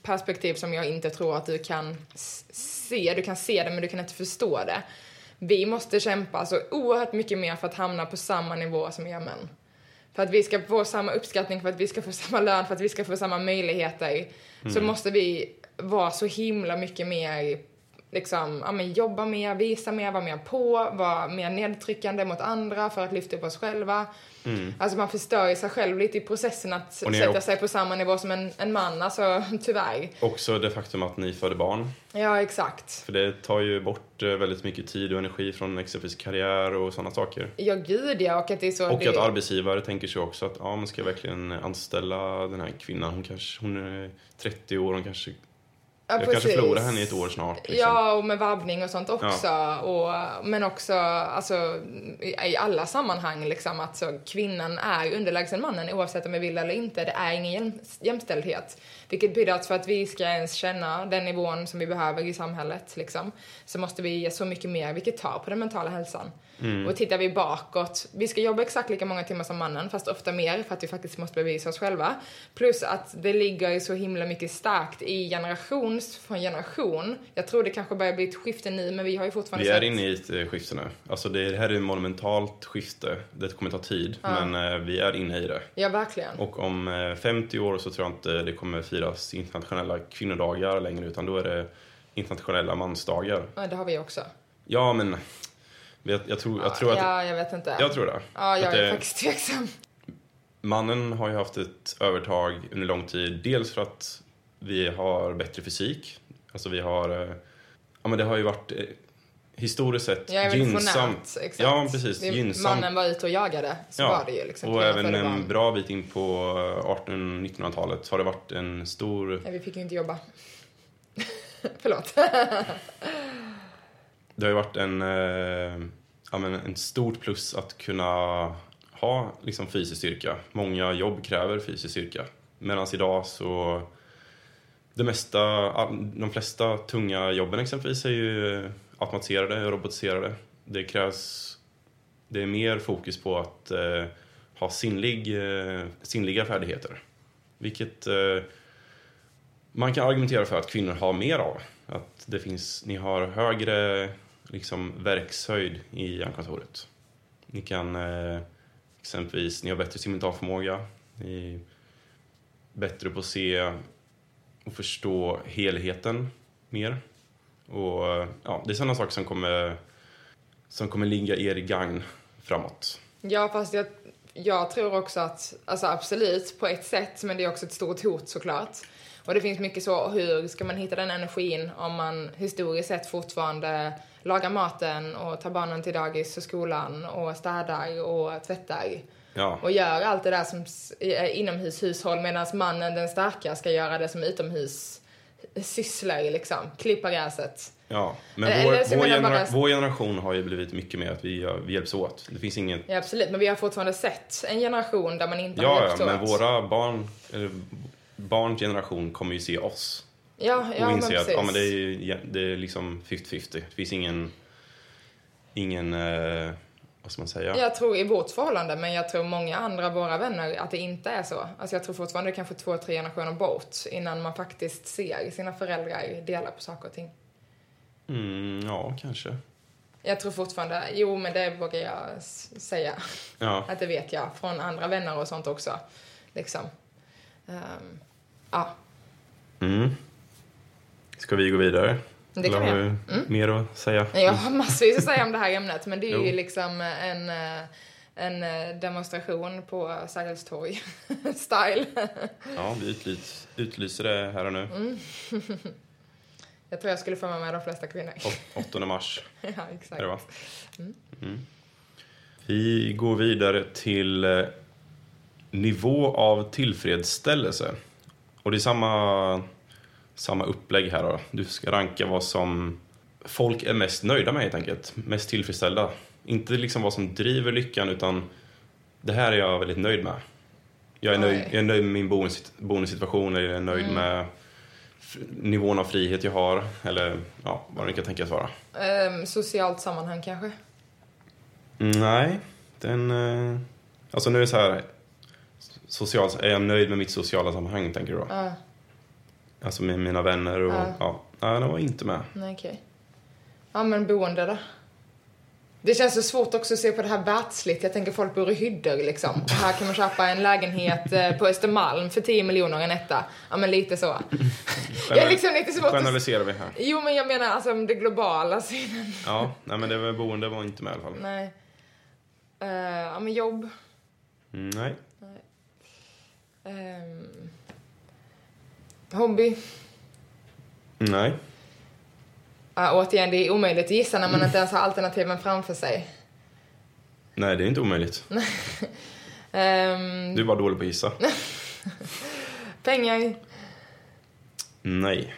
Speaker 2: perspektiv som jag inte tror att du kan s- se. Du kan se det, men du kan inte förstå det. Vi måste kämpa så oerhört mycket mer för att hamna på samma nivå som er män. För att vi ska få samma uppskattning, för att vi ska få (laughs) samma lön, för att vi ska få samma möjligheter. Så
Speaker 1: Mm.
Speaker 2: måste vi vara så himla mycket mer, liksom, ja, men jobba mer, visa mer, vara mer på, vara mer nedtryckande mot andra för att lyfta upp oss själva. Alltså man förstör ju sig själv lite i processen att
Speaker 1: Mm. Och ni är
Speaker 2: sätta
Speaker 1: också-
Speaker 2: sig på samma nivå som en, en man, alltså (laughs) tyvärr.
Speaker 1: Också det faktum att ni föder barn,
Speaker 2: Ja, exakt.
Speaker 1: för det tar ju bort eh, väldigt mycket tid och energi från exempelvis karriär och sådana saker.
Speaker 2: Ja, gud ja, och att det är så...
Speaker 1: Och
Speaker 2: det...
Speaker 1: att arbetsgivare tänker sig också att ja, man ska jag verkligen anställa den här kvinnan. Hon, kanske, hon är 30 år, hon kanske,
Speaker 2: ja,
Speaker 1: jag kanske
Speaker 2: precis.
Speaker 1: förlorar henne i ett år snart. Liksom.
Speaker 2: Ja, och med vabbning och sånt också. Och, men också alltså, i i alla sammanhang liksom, att så, kvinnan är underlägsen mannen oavsett om vi vill eller inte. Det är ingen jäm, jämställdhet. Vilket betyder att för att vi ska ens känna den nivån som vi behöver i samhället liksom, så måste vi ge så mycket mer, vilket tar på den mentala hälsan.
Speaker 1: Mm.
Speaker 2: Och tittar vi bakåt, vi ska jobba exakt lika många timmar som mannen, fast ofta mer för att vi faktiskt måste bevisa oss själva. Plus att det ligger ju så himla mycket starkt i generations från generation. Jag tror det kanske börjar bli ett skifte nu, men vi har ju fortfarande
Speaker 1: Vi är inne i ett eh, skifte nu. Alltså det det här är ett monumentalt skifte. Det kommer ta tid, men eh, vi är inne i det.
Speaker 2: Ja, verkligen.
Speaker 1: Och om eh, 50 år så tror jag inte det kommer firas internationella kvinnodagar längre, utan då är det internationella mansdagar.
Speaker 2: Ja, det har vi också.
Speaker 1: Ja, men jag, jag, tror, jag tror att...
Speaker 2: Ja, jag vet inte.
Speaker 1: Jag tror det.
Speaker 2: Ja,
Speaker 1: Att
Speaker 2: jag är
Speaker 1: det-
Speaker 2: faktiskt tveksam.
Speaker 1: Mannen har ju haft ett övertag under lång tid. Dels för att vi har bättre fysik. Alltså vi har... eh, Ja men det har ju varit eh, historiskt sett
Speaker 2: Jag är väl
Speaker 1: gynnsamt.
Speaker 2: Exakt.
Speaker 1: Ja precis,
Speaker 2: Vi-
Speaker 1: gynnsamt.
Speaker 2: Mannen var ute och jagade, så var det ju. Liksom.
Speaker 1: och
Speaker 2: Kvinnan
Speaker 1: även
Speaker 2: födde
Speaker 1: en
Speaker 2: barn.
Speaker 1: bra bit in på 1800-1900-talet har det varit en stor...
Speaker 2: Nej, vi fick ju inte jobba. (laughs) Förlåt.
Speaker 1: Det har ju varit en... Eh, ja men en stort plus att kunna ha liksom fysisk styrka. Många jobb kräver fysisk styrka. Medan idag så... Det mesta, all- de flesta tunga jobben exempelvis är ju automatiserade, robotiserade. Det krävs... Det är mer fokus på att eh, ha sinnlig, eh, sinnliga färdigheter. Vilket eh, man kan argumentera för att kvinnor har mer av. Att det finns, ni har högre liksom, verkshöjd i hjärnkontoret. Ni kan eh, exempelvis, ni har bättre simultanförmåga. Ni är bättre på att se och förstå helheten mer. Och eh, ja, det är sådana saker som kommer, som kommer ligga er i gagn framåt.
Speaker 2: Ja, fast jag, jag tror också att, alltså absolut på ett sätt, men det är också ett stort hot såklart. Och det finns mycket så, hur ska man hitta den energin om man historiskt sett fortfarande lagar maten och tar barnen till dagis och skolan och städar och tvättar
Speaker 1: Ja,
Speaker 2: och gör allt det där som s- är inomhushushåll medan mannen, den starka, ska göra det som utomhus sysslor liksom, klippa gräset.
Speaker 1: ja. men
Speaker 2: Eh, Eller
Speaker 1: vår,
Speaker 2: så
Speaker 1: vår,
Speaker 2: menar jag bara-
Speaker 1: genera- vår generation har ju blivit mycket mer att vi, gör- vi hjälps åt. Det finns inget
Speaker 2: Ja, absolut, men vi har fortfarande sett en generation där man inte har
Speaker 1: Ja,
Speaker 2: hjälpts
Speaker 1: ja, men
Speaker 2: åt.
Speaker 1: våra barn, eller barns generation kommer ju se oss
Speaker 2: Ja,
Speaker 1: och
Speaker 2: ja, men
Speaker 1: inse
Speaker 2: precis.
Speaker 1: att ja, men det, är, ju- det är liksom 50-50. Det finns ingen, ingen eh, vad ska man säga?
Speaker 2: Jag tror i vårt förhållande, men jag tror många andra av våra vänner att det inte är så. Alltså jag tror fortfarande det är kanske två, tre generationer bort innan man faktiskt ser sina föräldrar dela på saker och ting.
Speaker 1: Mm, ja, kanske.
Speaker 2: Jag tror fortfarande, jo men det vågar jag s- säga,
Speaker 1: Ja,
Speaker 2: att det vet jag från andra vänner och sånt också. Liksom. Ehm, ja,
Speaker 1: mm. Ska vi gå vidare?
Speaker 2: det kan vi
Speaker 1: har
Speaker 2: göra. Mm.
Speaker 1: du mer att säga?
Speaker 2: Nej, Jag har massvis att säga om det här ämnet, men det är ju
Speaker 1: Jo.
Speaker 2: liksom en, eh, en eh, demonstration på Sergels torg. (laughs) Style.
Speaker 1: Ja, vi utlys, utlyser det här och nu.
Speaker 2: Mm. Jag tror jag skulle få med mig de flesta kvinnor.
Speaker 1: Åt- 8 mars
Speaker 2: (laughs) ja, exakt.
Speaker 1: är det va? Mm. Vi går vidare till eh, nivå av tillfredsställelse. Och det är samma, samma upplägg här då. Du ska ranka vad som folk är mest nöjda med helt enkelt. Mest tillfredsställda. Inte liksom vad som driver lyckan utan det här är jag väldigt nöjd med. Jag är, nöjd,
Speaker 2: Oj. Mm.
Speaker 1: jag är nöjd med min boendes- boendesituation, jag är nöjd med f- nivån av frihet jag har, eller ja, vad det kan tänkas vara.
Speaker 2: Ehm, socialt sammanhang kanske?
Speaker 1: Mm, Nej, den... eh, Alltså nu är det så här... Social, är jag nöjd med mitt sociala sammanhang, tänker du då?
Speaker 2: Ja,
Speaker 1: Alltså med mina vänner och...
Speaker 2: Ja.
Speaker 1: Ja. Nej, de var inte med.
Speaker 2: nej okej. Ja men boende då? Det känns så svårt också att se på det här världsligt. Jag tänker folk bor i hyddor liksom. Och här kan man köpa en lägenhet eh, på Östermalm för 10 miljoner en etta. Ja men lite så. Det är liksom lite svårt att...
Speaker 1: Generaliserar vi här.
Speaker 2: Jo men jag menar alltså om det globala synen.
Speaker 1: Ja, nej men det var boende var inte med i alla fall.
Speaker 2: Nej. Eh, ja men jobb.
Speaker 1: Mm, Nej.
Speaker 2: Ehm, hobby.
Speaker 1: Nej.
Speaker 2: Ja, återigen, det är omöjligt att gissa när man inte ens har alternativen framför sig.
Speaker 1: Nej, det är inte omöjligt.
Speaker 2: Ehm,
Speaker 1: Du är bara dålig på att gissa.
Speaker 2: Pengar.
Speaker 1: Nej.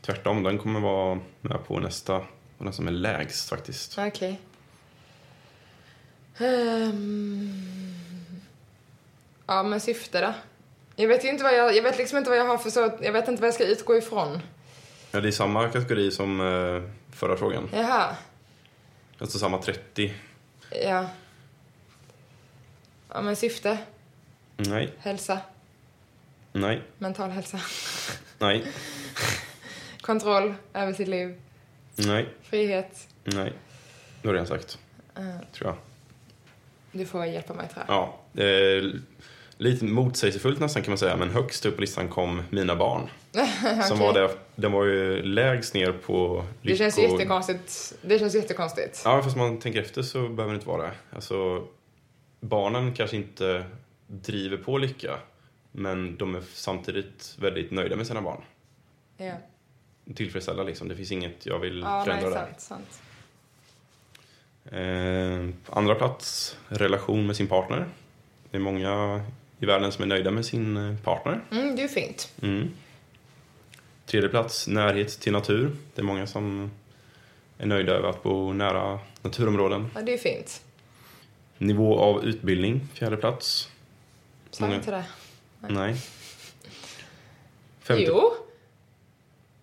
Speaker 1: Tvärtom, den kommer vara med på nästa. Och den som är lägst faktiskt.
Speaker 2: Okej. Ehm, ja, men syfte då? Jag vet ju inte vad jag, jag vet liksom inte vad jag har för så, jag vet inte vad jag ska utgå ifrån.
Speaker 1: Ja, det är samma kategori som eh, förra frågan.
Speaker 2: Jaha.
Speaker 1: Alltså samma 30.
Speaker 2: Ja. Ja, men syfte.
Speaker 1: Nej.
Speaker 2: Hälsa.
Speaker 1: Nej.
Speaker 2: Mental hälsa.
Speaker 1: Nej.
Speaker 2: Kontroll över sitt liv.
Speaker 1: Nej.
Speaker 2: Frihet.
Speaker 1: Nej. Det har jag redan sagt,
Speaker 2: Eh,
Speaker 1: tror jag.
Speaker 2: du får hjälpa mig tror jag.
Speaker 1: Ja. Eh, lite motsägelsefullt nästan kan man säga, men högst upp på listan kom Mina
Speaker 2: (laughs)
Speaker 1: barn. Som var det, den var ju lägst ner på
Speaker 2: Det känns
Speaker 1: lycko-
Speaker 2: jättekonstigt. Det känns jättekonstigt.
Speaker 1: Ja, fast man tänker efter så behöver det inte vara det. Alltså, barnen kanske inte driver på lycka, men de är samtidigt väldigt nöjda med sina barn.
Speaker 2: Ja,
Speaker 1: Tillfredsställda liksom. Det finns inget jag vill
Speaker 2: ja nej,
Speaker 1: förändra där.
Speaker 2: sant, sant.
Speaker 1: Eh, på andra plats, relation med sin partner. Det är många i världen som är nöjda med sin eh, partner.
Speaker 2: Mm, det är fint.
Speaker 1: Mm. Tredje plats, närhet till natur. Det är många som är nöjda över att bo nära naturområden.
Speaker 2: Ja, det är fint.
Speaker 1: Nivå av utbildning, fjärde plats.
Speaker 2: Sa
Speaker 1: Många-
Speaker 2: inte det?
Speaker 1: Nej. Femte.
Speaker 2: Jo.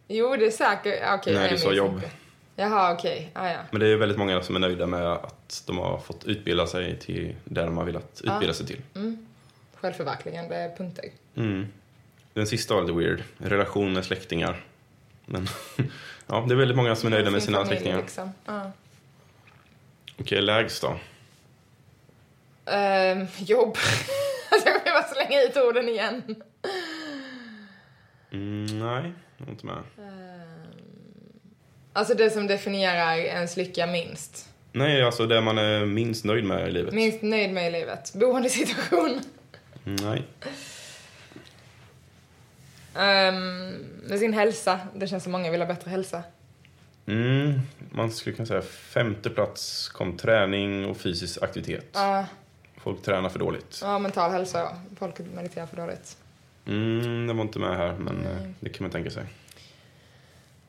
Speaker 2: Jo, det är säkert. ja, Okej,
Speaker 1: Nej,
Speaker 2: jag
Speaker 1: du sa
Speaker 2: minns
Speaker 1: jobb.
Speaker 2: inte. Jaha, okej. Ah, ja.
Speaker 1: Men det är väldigt många som är nöjda med att de har fått utbilda sig till där de har velat utbilda sig till.
Speaker 2: Självförverkligande punkter.
Speaker 1: Mm. Den sista var lite weird. Relation med släktingar. Men (laughs) ja, det är väldigt många som är nöjda med
Speaker 2: Sin
Speaker 1: sina
Speaker 2: familj,
Speaker 1: släktingar.
Speaker 2: Liksom. Ja.
Speaker 1: Okej, lägst då?
Speaker 2: Ehm, jobb. (laughs) alltså, jag kommer bara slänga ut orden igen.
Speaker 1: Mm, nej, jag är inte med.
Speaker 2: Ehm, alltså det som definierar ens lycka minst.
Speaker 1: Nej, alltså det man är minst nöjd med i livet.
Speaker 2: Minst nöjd med i livet. Boendesituation.
Speaker 1: Mm, Nej.
Speaker 2: Um, med sin hälsa. Det känns som många vill ha bättre hälsa.
Speaker 1: Mm, man skulle kunna säga femte plats kom träning och fysisk aktivitet.
Speaker 2: Ja,
Speaker 1: Folk tränar för dåligt.
Speaker 2: ja, mental hälsa. Folk mediterar för dåligt.
Speaker 1: Mm, det var inte med här, men eh,
Speaker 2: Nej.
Speaker 1: det kan man tänka sig.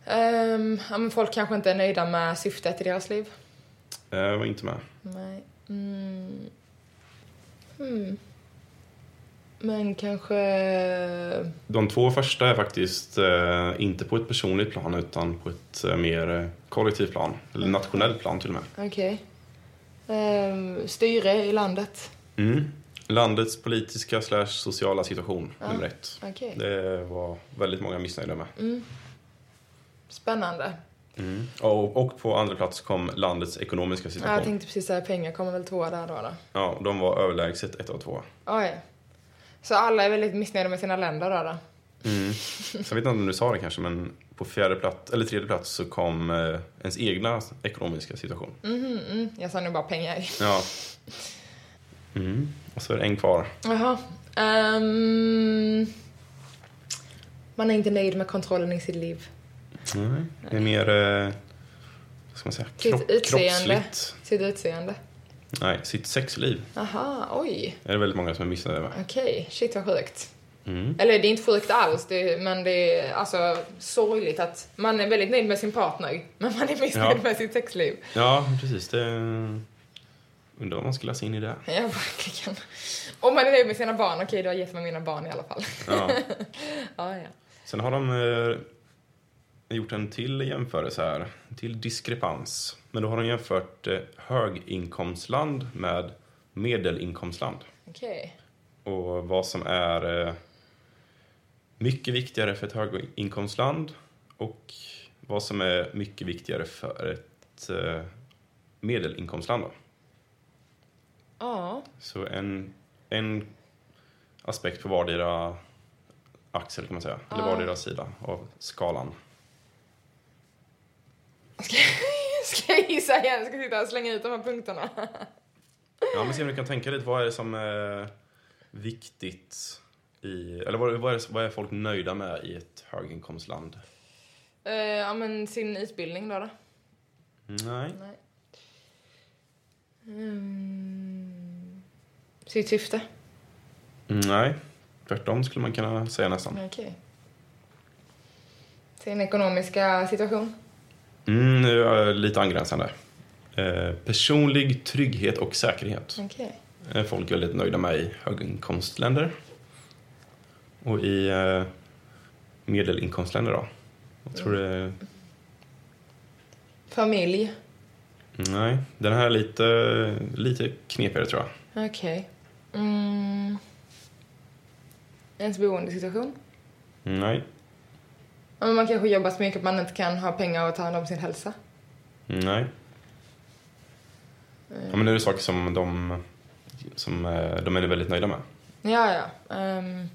Speaker 2: Ehm, ja, men folk kanske inte är nöjda med syftet i deras liv.
Speaker 1: Eh, Jag var inte med.
Speaker 2: Nej. Mm. Hmm. Men kanske...
Speaker 1: De två första är faktiskt eh, inte på ett personligt plan utan på ett eh, mer eh, kollektivt plan. Eller nationellt plan till och med.
Speaker 2: Okej. Ehm, styre i landet.
Speaker 1: Mm. Landets politiska slash sociala situation,
Speaker 2: Ja.
Speaker 1: nummer ett.
Speaker 2: Okej.
Speaker 1: Det var väldigt många missnöjda med.
Speaker 2: Mm. Spännande.
Speaker 1: Mm. Och, och på andra plats kom landets ekonomiska
Speaker 2: Ja, jag
Speaker 1: situation.
Speaker 2: tänkte precis säga pengar kommer väl tvåa där då. då.
Speaker 1: Ja, de var överlägset ett av två.
Speaker 2: Oj. Så alla är väldigt missnöjda med sina länder då? då.
Speaker 1: Mm. Sen vet jag inte om du sa det kanske, men på fjärde plats, eller tredje plats så kom eh, ens egna ekonomiska situation.
Speaker 2: Mhm, mm. Jag sa nu bara pengar.
Speaker 1: Ja. Mm. Och så är det en kvar.
Speaker 2: Jaha. Ehm, man är inte nöjd med kontrollen i sitt liv.
Speaker 1: Nej. Det är mer, eh, vad ska man säga,
Speaker 2: Sitt
Speaker 1: kropp,
Speaker 2: utseende.
Speaker 1: kroppsligt.
Speaker 2: Sitt utseende.
Speaker 1: Nej, sitt sexliv
Speaker 2: Aha, oj.
Speaker 1: är det väldigt många som är missnöjda med.
Speaker 2: Okej, shit vad sjukt.
Speaker 1: Mm.
Speaker 2: Eller det är inte sjukt alls, det är, men det är alltså sorgligt att man är väldigt nöjd med sin partner, men man är missnöjd
Speaker 1: Ja.
Speaker 2: med sitt sexliv.
Speaker 1: Ja, precis. Det, Undrar vad man skulle läsa in i det.
Speaker 2: Ja, verkligen. Om man är nöjd med sina barn, okej, då har jag gett mig mina barn i alla fall.
Speaker 1: Ja.
Speaker 2: Ja, ja.
Speaker 1: Sen har de eh, gjort en till jämförelse här, en till diskrepans. Men då har de jämfört eh, höginkomstland med medelinkomstland.
Speaker 2: Okej.
Speaker 1: Och vad som är eh, mycket viktigare för ett höginkomstland och vad som är mycket viktigare för ett eh, medelinkomstland. Då.
Speaker 2: Ja.
Speaker 1: Så en, en aspekt på vardera axel kan man säga, eller
Speaker 2: Ja.
Speaker 1: vardera sida av skalan.
Speaker 2: Ska, ska jag gissa igen? Jag ska sitta och slänga ut de här punkterna.
Speaker 1: Ja, men se om du kan tänka lite, vad är det som är viktigt i, eller vad, vad, är, det- vad är folk nöjda med i ett höginkomstland?
Speaker 2: Eh, ja, men sin utbildning då. då.
Speaker 1: Nej.
Speaker 2: Nej. Mm. Sitt syfte.
Speaker 1: Nej, tvärtom skulle man kunna säga nästan.
Speaker 2: Okej. Sin ekonomiska situation.
Speaker 1: Mm, nu är jag lite angränsande. Eh, personlig trygghet och säkerhet
Speaker 2: Okej.
Speaker 1: är folk väldigt nöjda med i höginkomstländer. Och i eh, medelinkomstländer då? Jag tror det
Speaker 2: Familj.
Speaker 1: Nej, den här är lite, lite knepigare tror jag.
Speaker 2: Okej. Mm. Ens boendesituation.
Speaker 1: Nej.
Speaker 2: Ja, men man kanske jobbar så mycket att man inte kan ha pengar och ta hand om sin hälsa.
Speaker 1: Nej. Ja, men nu är det saker som de, som eh, de är väldigt nöjda med.
Speaker 2: Ja, ja. Ehm,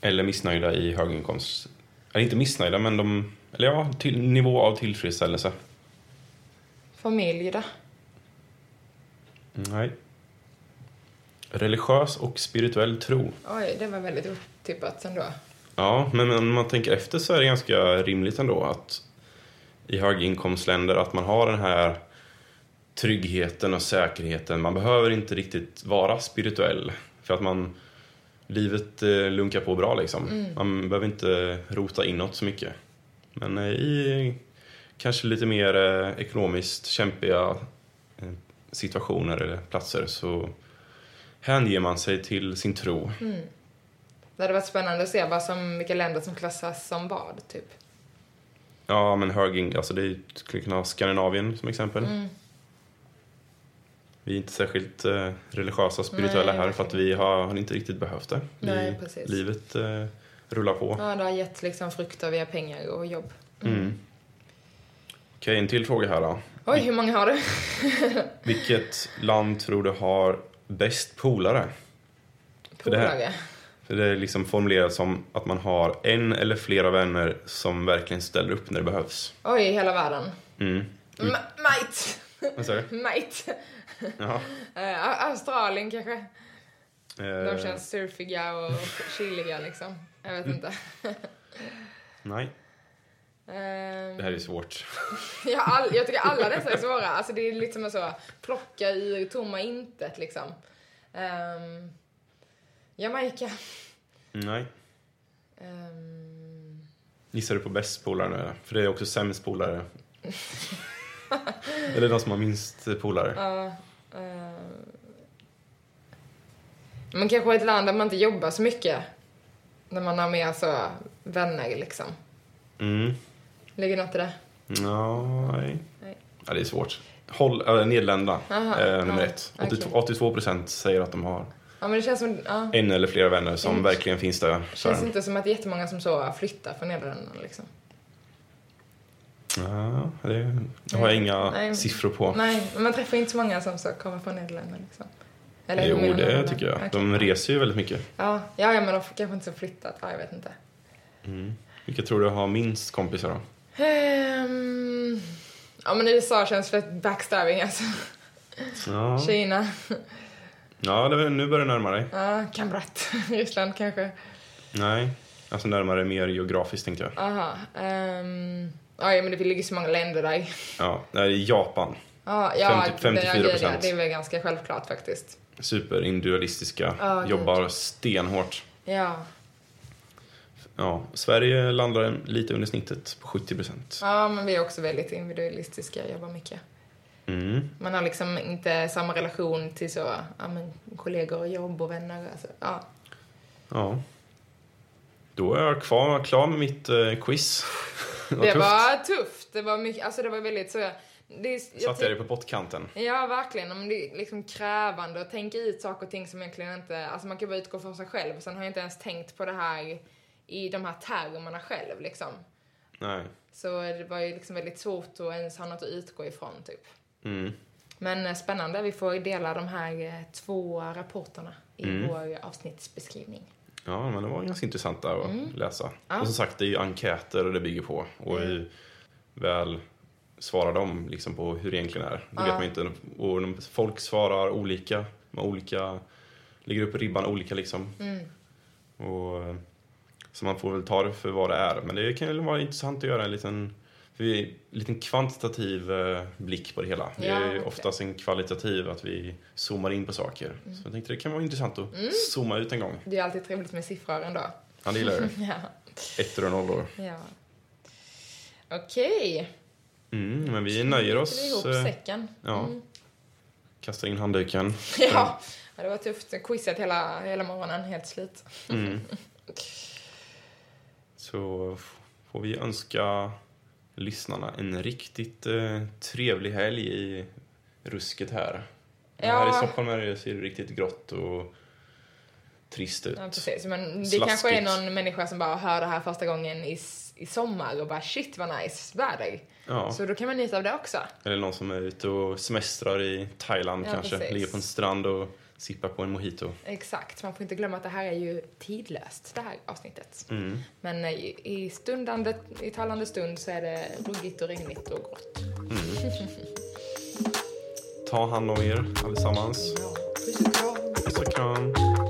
Speaker 1: Eller missnöjda i höginkomst... Eller inte missnöjda, men de... Eller ja, till, nivå av tillfredsställelse.
Speaker 2: familj då.
Speaker 1: Mm, Nej. Religiös och spirituell tro.
Speaker 2: Oj, det var väldigt otippat ändå.
Speaker 1: Ja, men men om man tänker efter så är det ganska rimligt ändå att i höginkomstländer att man har den här tryggheten och säkerheten. Man behöver inte riktigt vara spirituell för att man livet eh, lunkar på bra liksom. Man behöver inte rota inåt så mycket. Men eh, i kanske lite mer eh, ekonomiskt kämpiga eh, situationer eller platser så hänger man sig till sin tro.
Speaker 2: Mm. Det hade varit spännande att se vad som, vilka länder som klassas som vad, typ.
Speaker 1: Ja, men hög alltså det skulle kunna ha Skandinavien som exempel.
Speaker 2: Mm.
Speaker 1: Vi är inte särskilt eh, religiösa och spirituella
Speaker 2: Nej,
Speaker 1: här för att vi har, har inte riktigt behövt det. Vi,
Speaker 2: Nej, precis.
Speaker 1: Livet eh, rullar på.
Speaker 2: Ja, det har gett liksom frukter via pengar och jobb.
Speaker 1: Mm. Okej, en till fråga här då.
Speaker 2: Oj, hur många har du?
Speaker 1: Vilket land tror du har bäst polare? För det här-
Speaker 2: Polare.
Speaker 1: För det är liksom formulerat som att man har en eller flera vänner som verkligen ställer upp när det behövs.
Speaker 2: Oj, hela världen.
Speaker 1: Mm.
Speaker 2: Mm. Mate!
Speaker 1: Vad sa du?
Speaker 2: Mate!
Speaker 1: Jaha.
Speaker 2: Eh, A- Australien kanske. De
Speaker 1: Eh, Mm.
Speaker 2: känns surfiga och chilliga liksom. Jag vet inte.
Speaker 1: nej,
Speaker 2: Ehm,
Speaker 1: det här är svårt.
Speaker 2: jag, har all, jag tycker alla dessa är svåra. Alltså det är lite som att så, plocka ur tomma intet liksom. Ehm, Jamaica.
Speaker 1: Nej.
Speaker 2: Ehm,
Speaker 1: Gissar du på bäst polare nu eller? För det är också sämst
Speaker 2: (laughs)
Speaker 1: polare. eller de som har minst polare.
Speaker 2: Ja. eh. Men kanske ett land där man inte jobbar så mycket. När man har mer så vänner liksom.
Speaker 1: Mm.
Speaker 2: Ligger något i det?
Speaker 1: Nej.
Speaker 2: Nej.
Speaker 1: Ja, det är svårt. Håll, äh, Nederländerna,
Speaker 2: Aha,
Speaker 1: eh, nummer
Speaker 2: ja,
Speaker 1: ett. 82,
Speaker 2: okej.
Speaker 1: 82 procent säger att de har
Speaker 2: Ja men det känns som, ja.
Speaker 1: en eller flera vänner som
Speaker 2: Mm.
Speaker 1: verkligen finns där för
Speaker 2: Känns
Speaker 1: en.
Speaker 2: inte som att det är jättemånga som så flyttar från Nederländerna liksom.
Speaker 1: Ja, det det har jag inga
Speaker 2: Nej.
Speaker 1: siffror på.
Speaker 2: Nej, men man träffar inte så många som så kommer från Nederländerna liksom. Eller hur
Speaker 1: jo,
Speaker 2: menar du?
Speaker 1: det tycker jag.
Speaker 2: Okej.
Speaker 1: De reser ju väldigt mycket.
Speaker 2: Ja, ja, ja, men de får kanske inte så flyttat. Ja, jag vet inte.
Speaker 1: Mm. Vilka tror du har minst kompisar då?
Speaker 2: Ehm, ja men USA känns för ett backstabbing alltså.
Speaker 1: Ja,
Speaker 2: Kina.
Speaker 1: ja det, nu börjar det närma dig.
Speaker 2: Ja, Kamrat. (laughs) Ryssland kanske.
Speaker 1: Nej, alltså närmare mer geografiskt tänkte jag.
Speaker 2: Aha. Um, ja, men det ligger så många länder där.
Speaker 1: Ja, nej, Japan.
Speaker 2: Ja, ja,
Speaker 1: 50
Speaker 2: det- ja, det,
Speaker 1: 54%.
Speaker 2: det är väl ganska självklart faktiskt.
Speaker 1: superindividualistiska,
Speaker 2: Ja, gud.
Speaker 1: jobbar stenhårt.
Speaker 2: Ja.
Speaker 1: Ja, Sverige landar en- lite under snittet på 70 procent.
Speaker 2: ja, men vi är också väldigt individualistiska, jobbar mycket.
Speaker 1: Mm. Mm.
Speaker 2: Man har liksom inte samma relation till så, ja, men, kollegor och jobb och vänner. Alltså, ja.
Speaker 1: Ja. Då är jag kvar, klar med mitt eh, quiz. (laughs) Vad
Speaker 2: Det
Speaker 1: tufft.
Speaker 2: var tufft. Det var mycket, alltså det var väldigt så. Det, är- jag
Speaker 1: Satt jag
Speaker 2: tänk,
Speaker 1: dig på pottkanten?
Speaker 2: ja, verkligen. Men det är liksom krävande att tänka ut saker och ting som egentligen inte, alltså man kan bara utgå från sig själv. Sen har jag inte ens tänkt på det här i de här termerna själv liksom.
Speaker 1: Nej.
Speaker 2: Så det var ju liksom väldigt svårt att ens ha något att utgå ifrån typ.
Speaker 1: Mm.
Speaker 2: Men eh, spännande, vi får dela de här eh, två rapporterna i
Speaker 1: Mm.
Speaker 2: vår avsnittsbeskrivning.
Speaker 1: Ja, men det var ganska intressant där att läsa.
Speaker 2: Mm. Ja. Mm.
Speaker 1: Och som sagt, det är ju enkäter och det bygger på. Och hur väl svarar de liksom på hur det egentligen är? Det vet man inte. Och de- folk svarar olika. Man olika lägger upp ribban olika liksom.
Speaker 2: Mm.
Speaker 1: Och, så man får väl ta det för vad det är. Men det kan väl vara intressant att göra en liten, för vi- en liten kvantitativ eh, blick på det hela. Det
Speaker 2: Ja,
Speaker 1: är ju
Speaker 2: verkligen.
Speaker 1: oftast en kvalitativ, att vi zoomar in på saker.
Speaker 2: Mm.
Speaker 1: Så jag tänkte det kan vara intressant att zooma ut en gång.
Speaker 2: Det är alltid trevligt med siffror ändå.
Speaker 1: Han gillar det.
Speaker 2: (laughs) Ja.
Speaker 1: Ettor och nollor.
Speaker 2: ja. Okej.
Speaker 1: Mm, men vi nöjer
Speaker 2: Knyter vi
Speaker 1: oss.
Speaker 2: ihop Mm.
Speaker 1: eh, (laughs)
Speaker 2: säcken.
Speaker 1: Ja. Kastar in
Speaker 2: (laughs)
Speaker 1: handduken.
Speaker 2: Ja, det var tufft. Quizet hela, hela morgonen, helt slut.
Speaker 1: Mm. Så f- får vi önska lyssnarna en riktigt eh, trevlig helg i rusket här. Men
Speaker 2: Ja.
Speaker 1: Här i Stockholm är det, ser det riktigt grått och trist ut.
Speaker 2: Ja, precis. Men det
Speaker 1: Slaskigt.
Speaker 2: kanske är någon människa som bara hör det här första gången i, s- i sommar och bara shit vad nice väder.
Speaker 1: Ja.
Speaker 2: Så då kan man njuta av det också.
Speaker 1: Eller någon som är ute och semestrar i Thailand
Speaker 2: Ja,
Speaker 1: kanske.
Speaker 2: precis.
Speaker 1: Ligger på en strand och sippar på en mojito.
Speaker 2: Exakt, man får inte glömma att det här är ju tidlöst, det här avsnittet.
Speaker 1: Mm.
Speaker 2: Men eh, i, i stundande, i talande stund så är det ruggigt och regnigt och grått.
Speaker 1: Ta hand om er allesammans.
Speaker 2: Ja. Puss och kram.
Speaker 1: Puss och kram.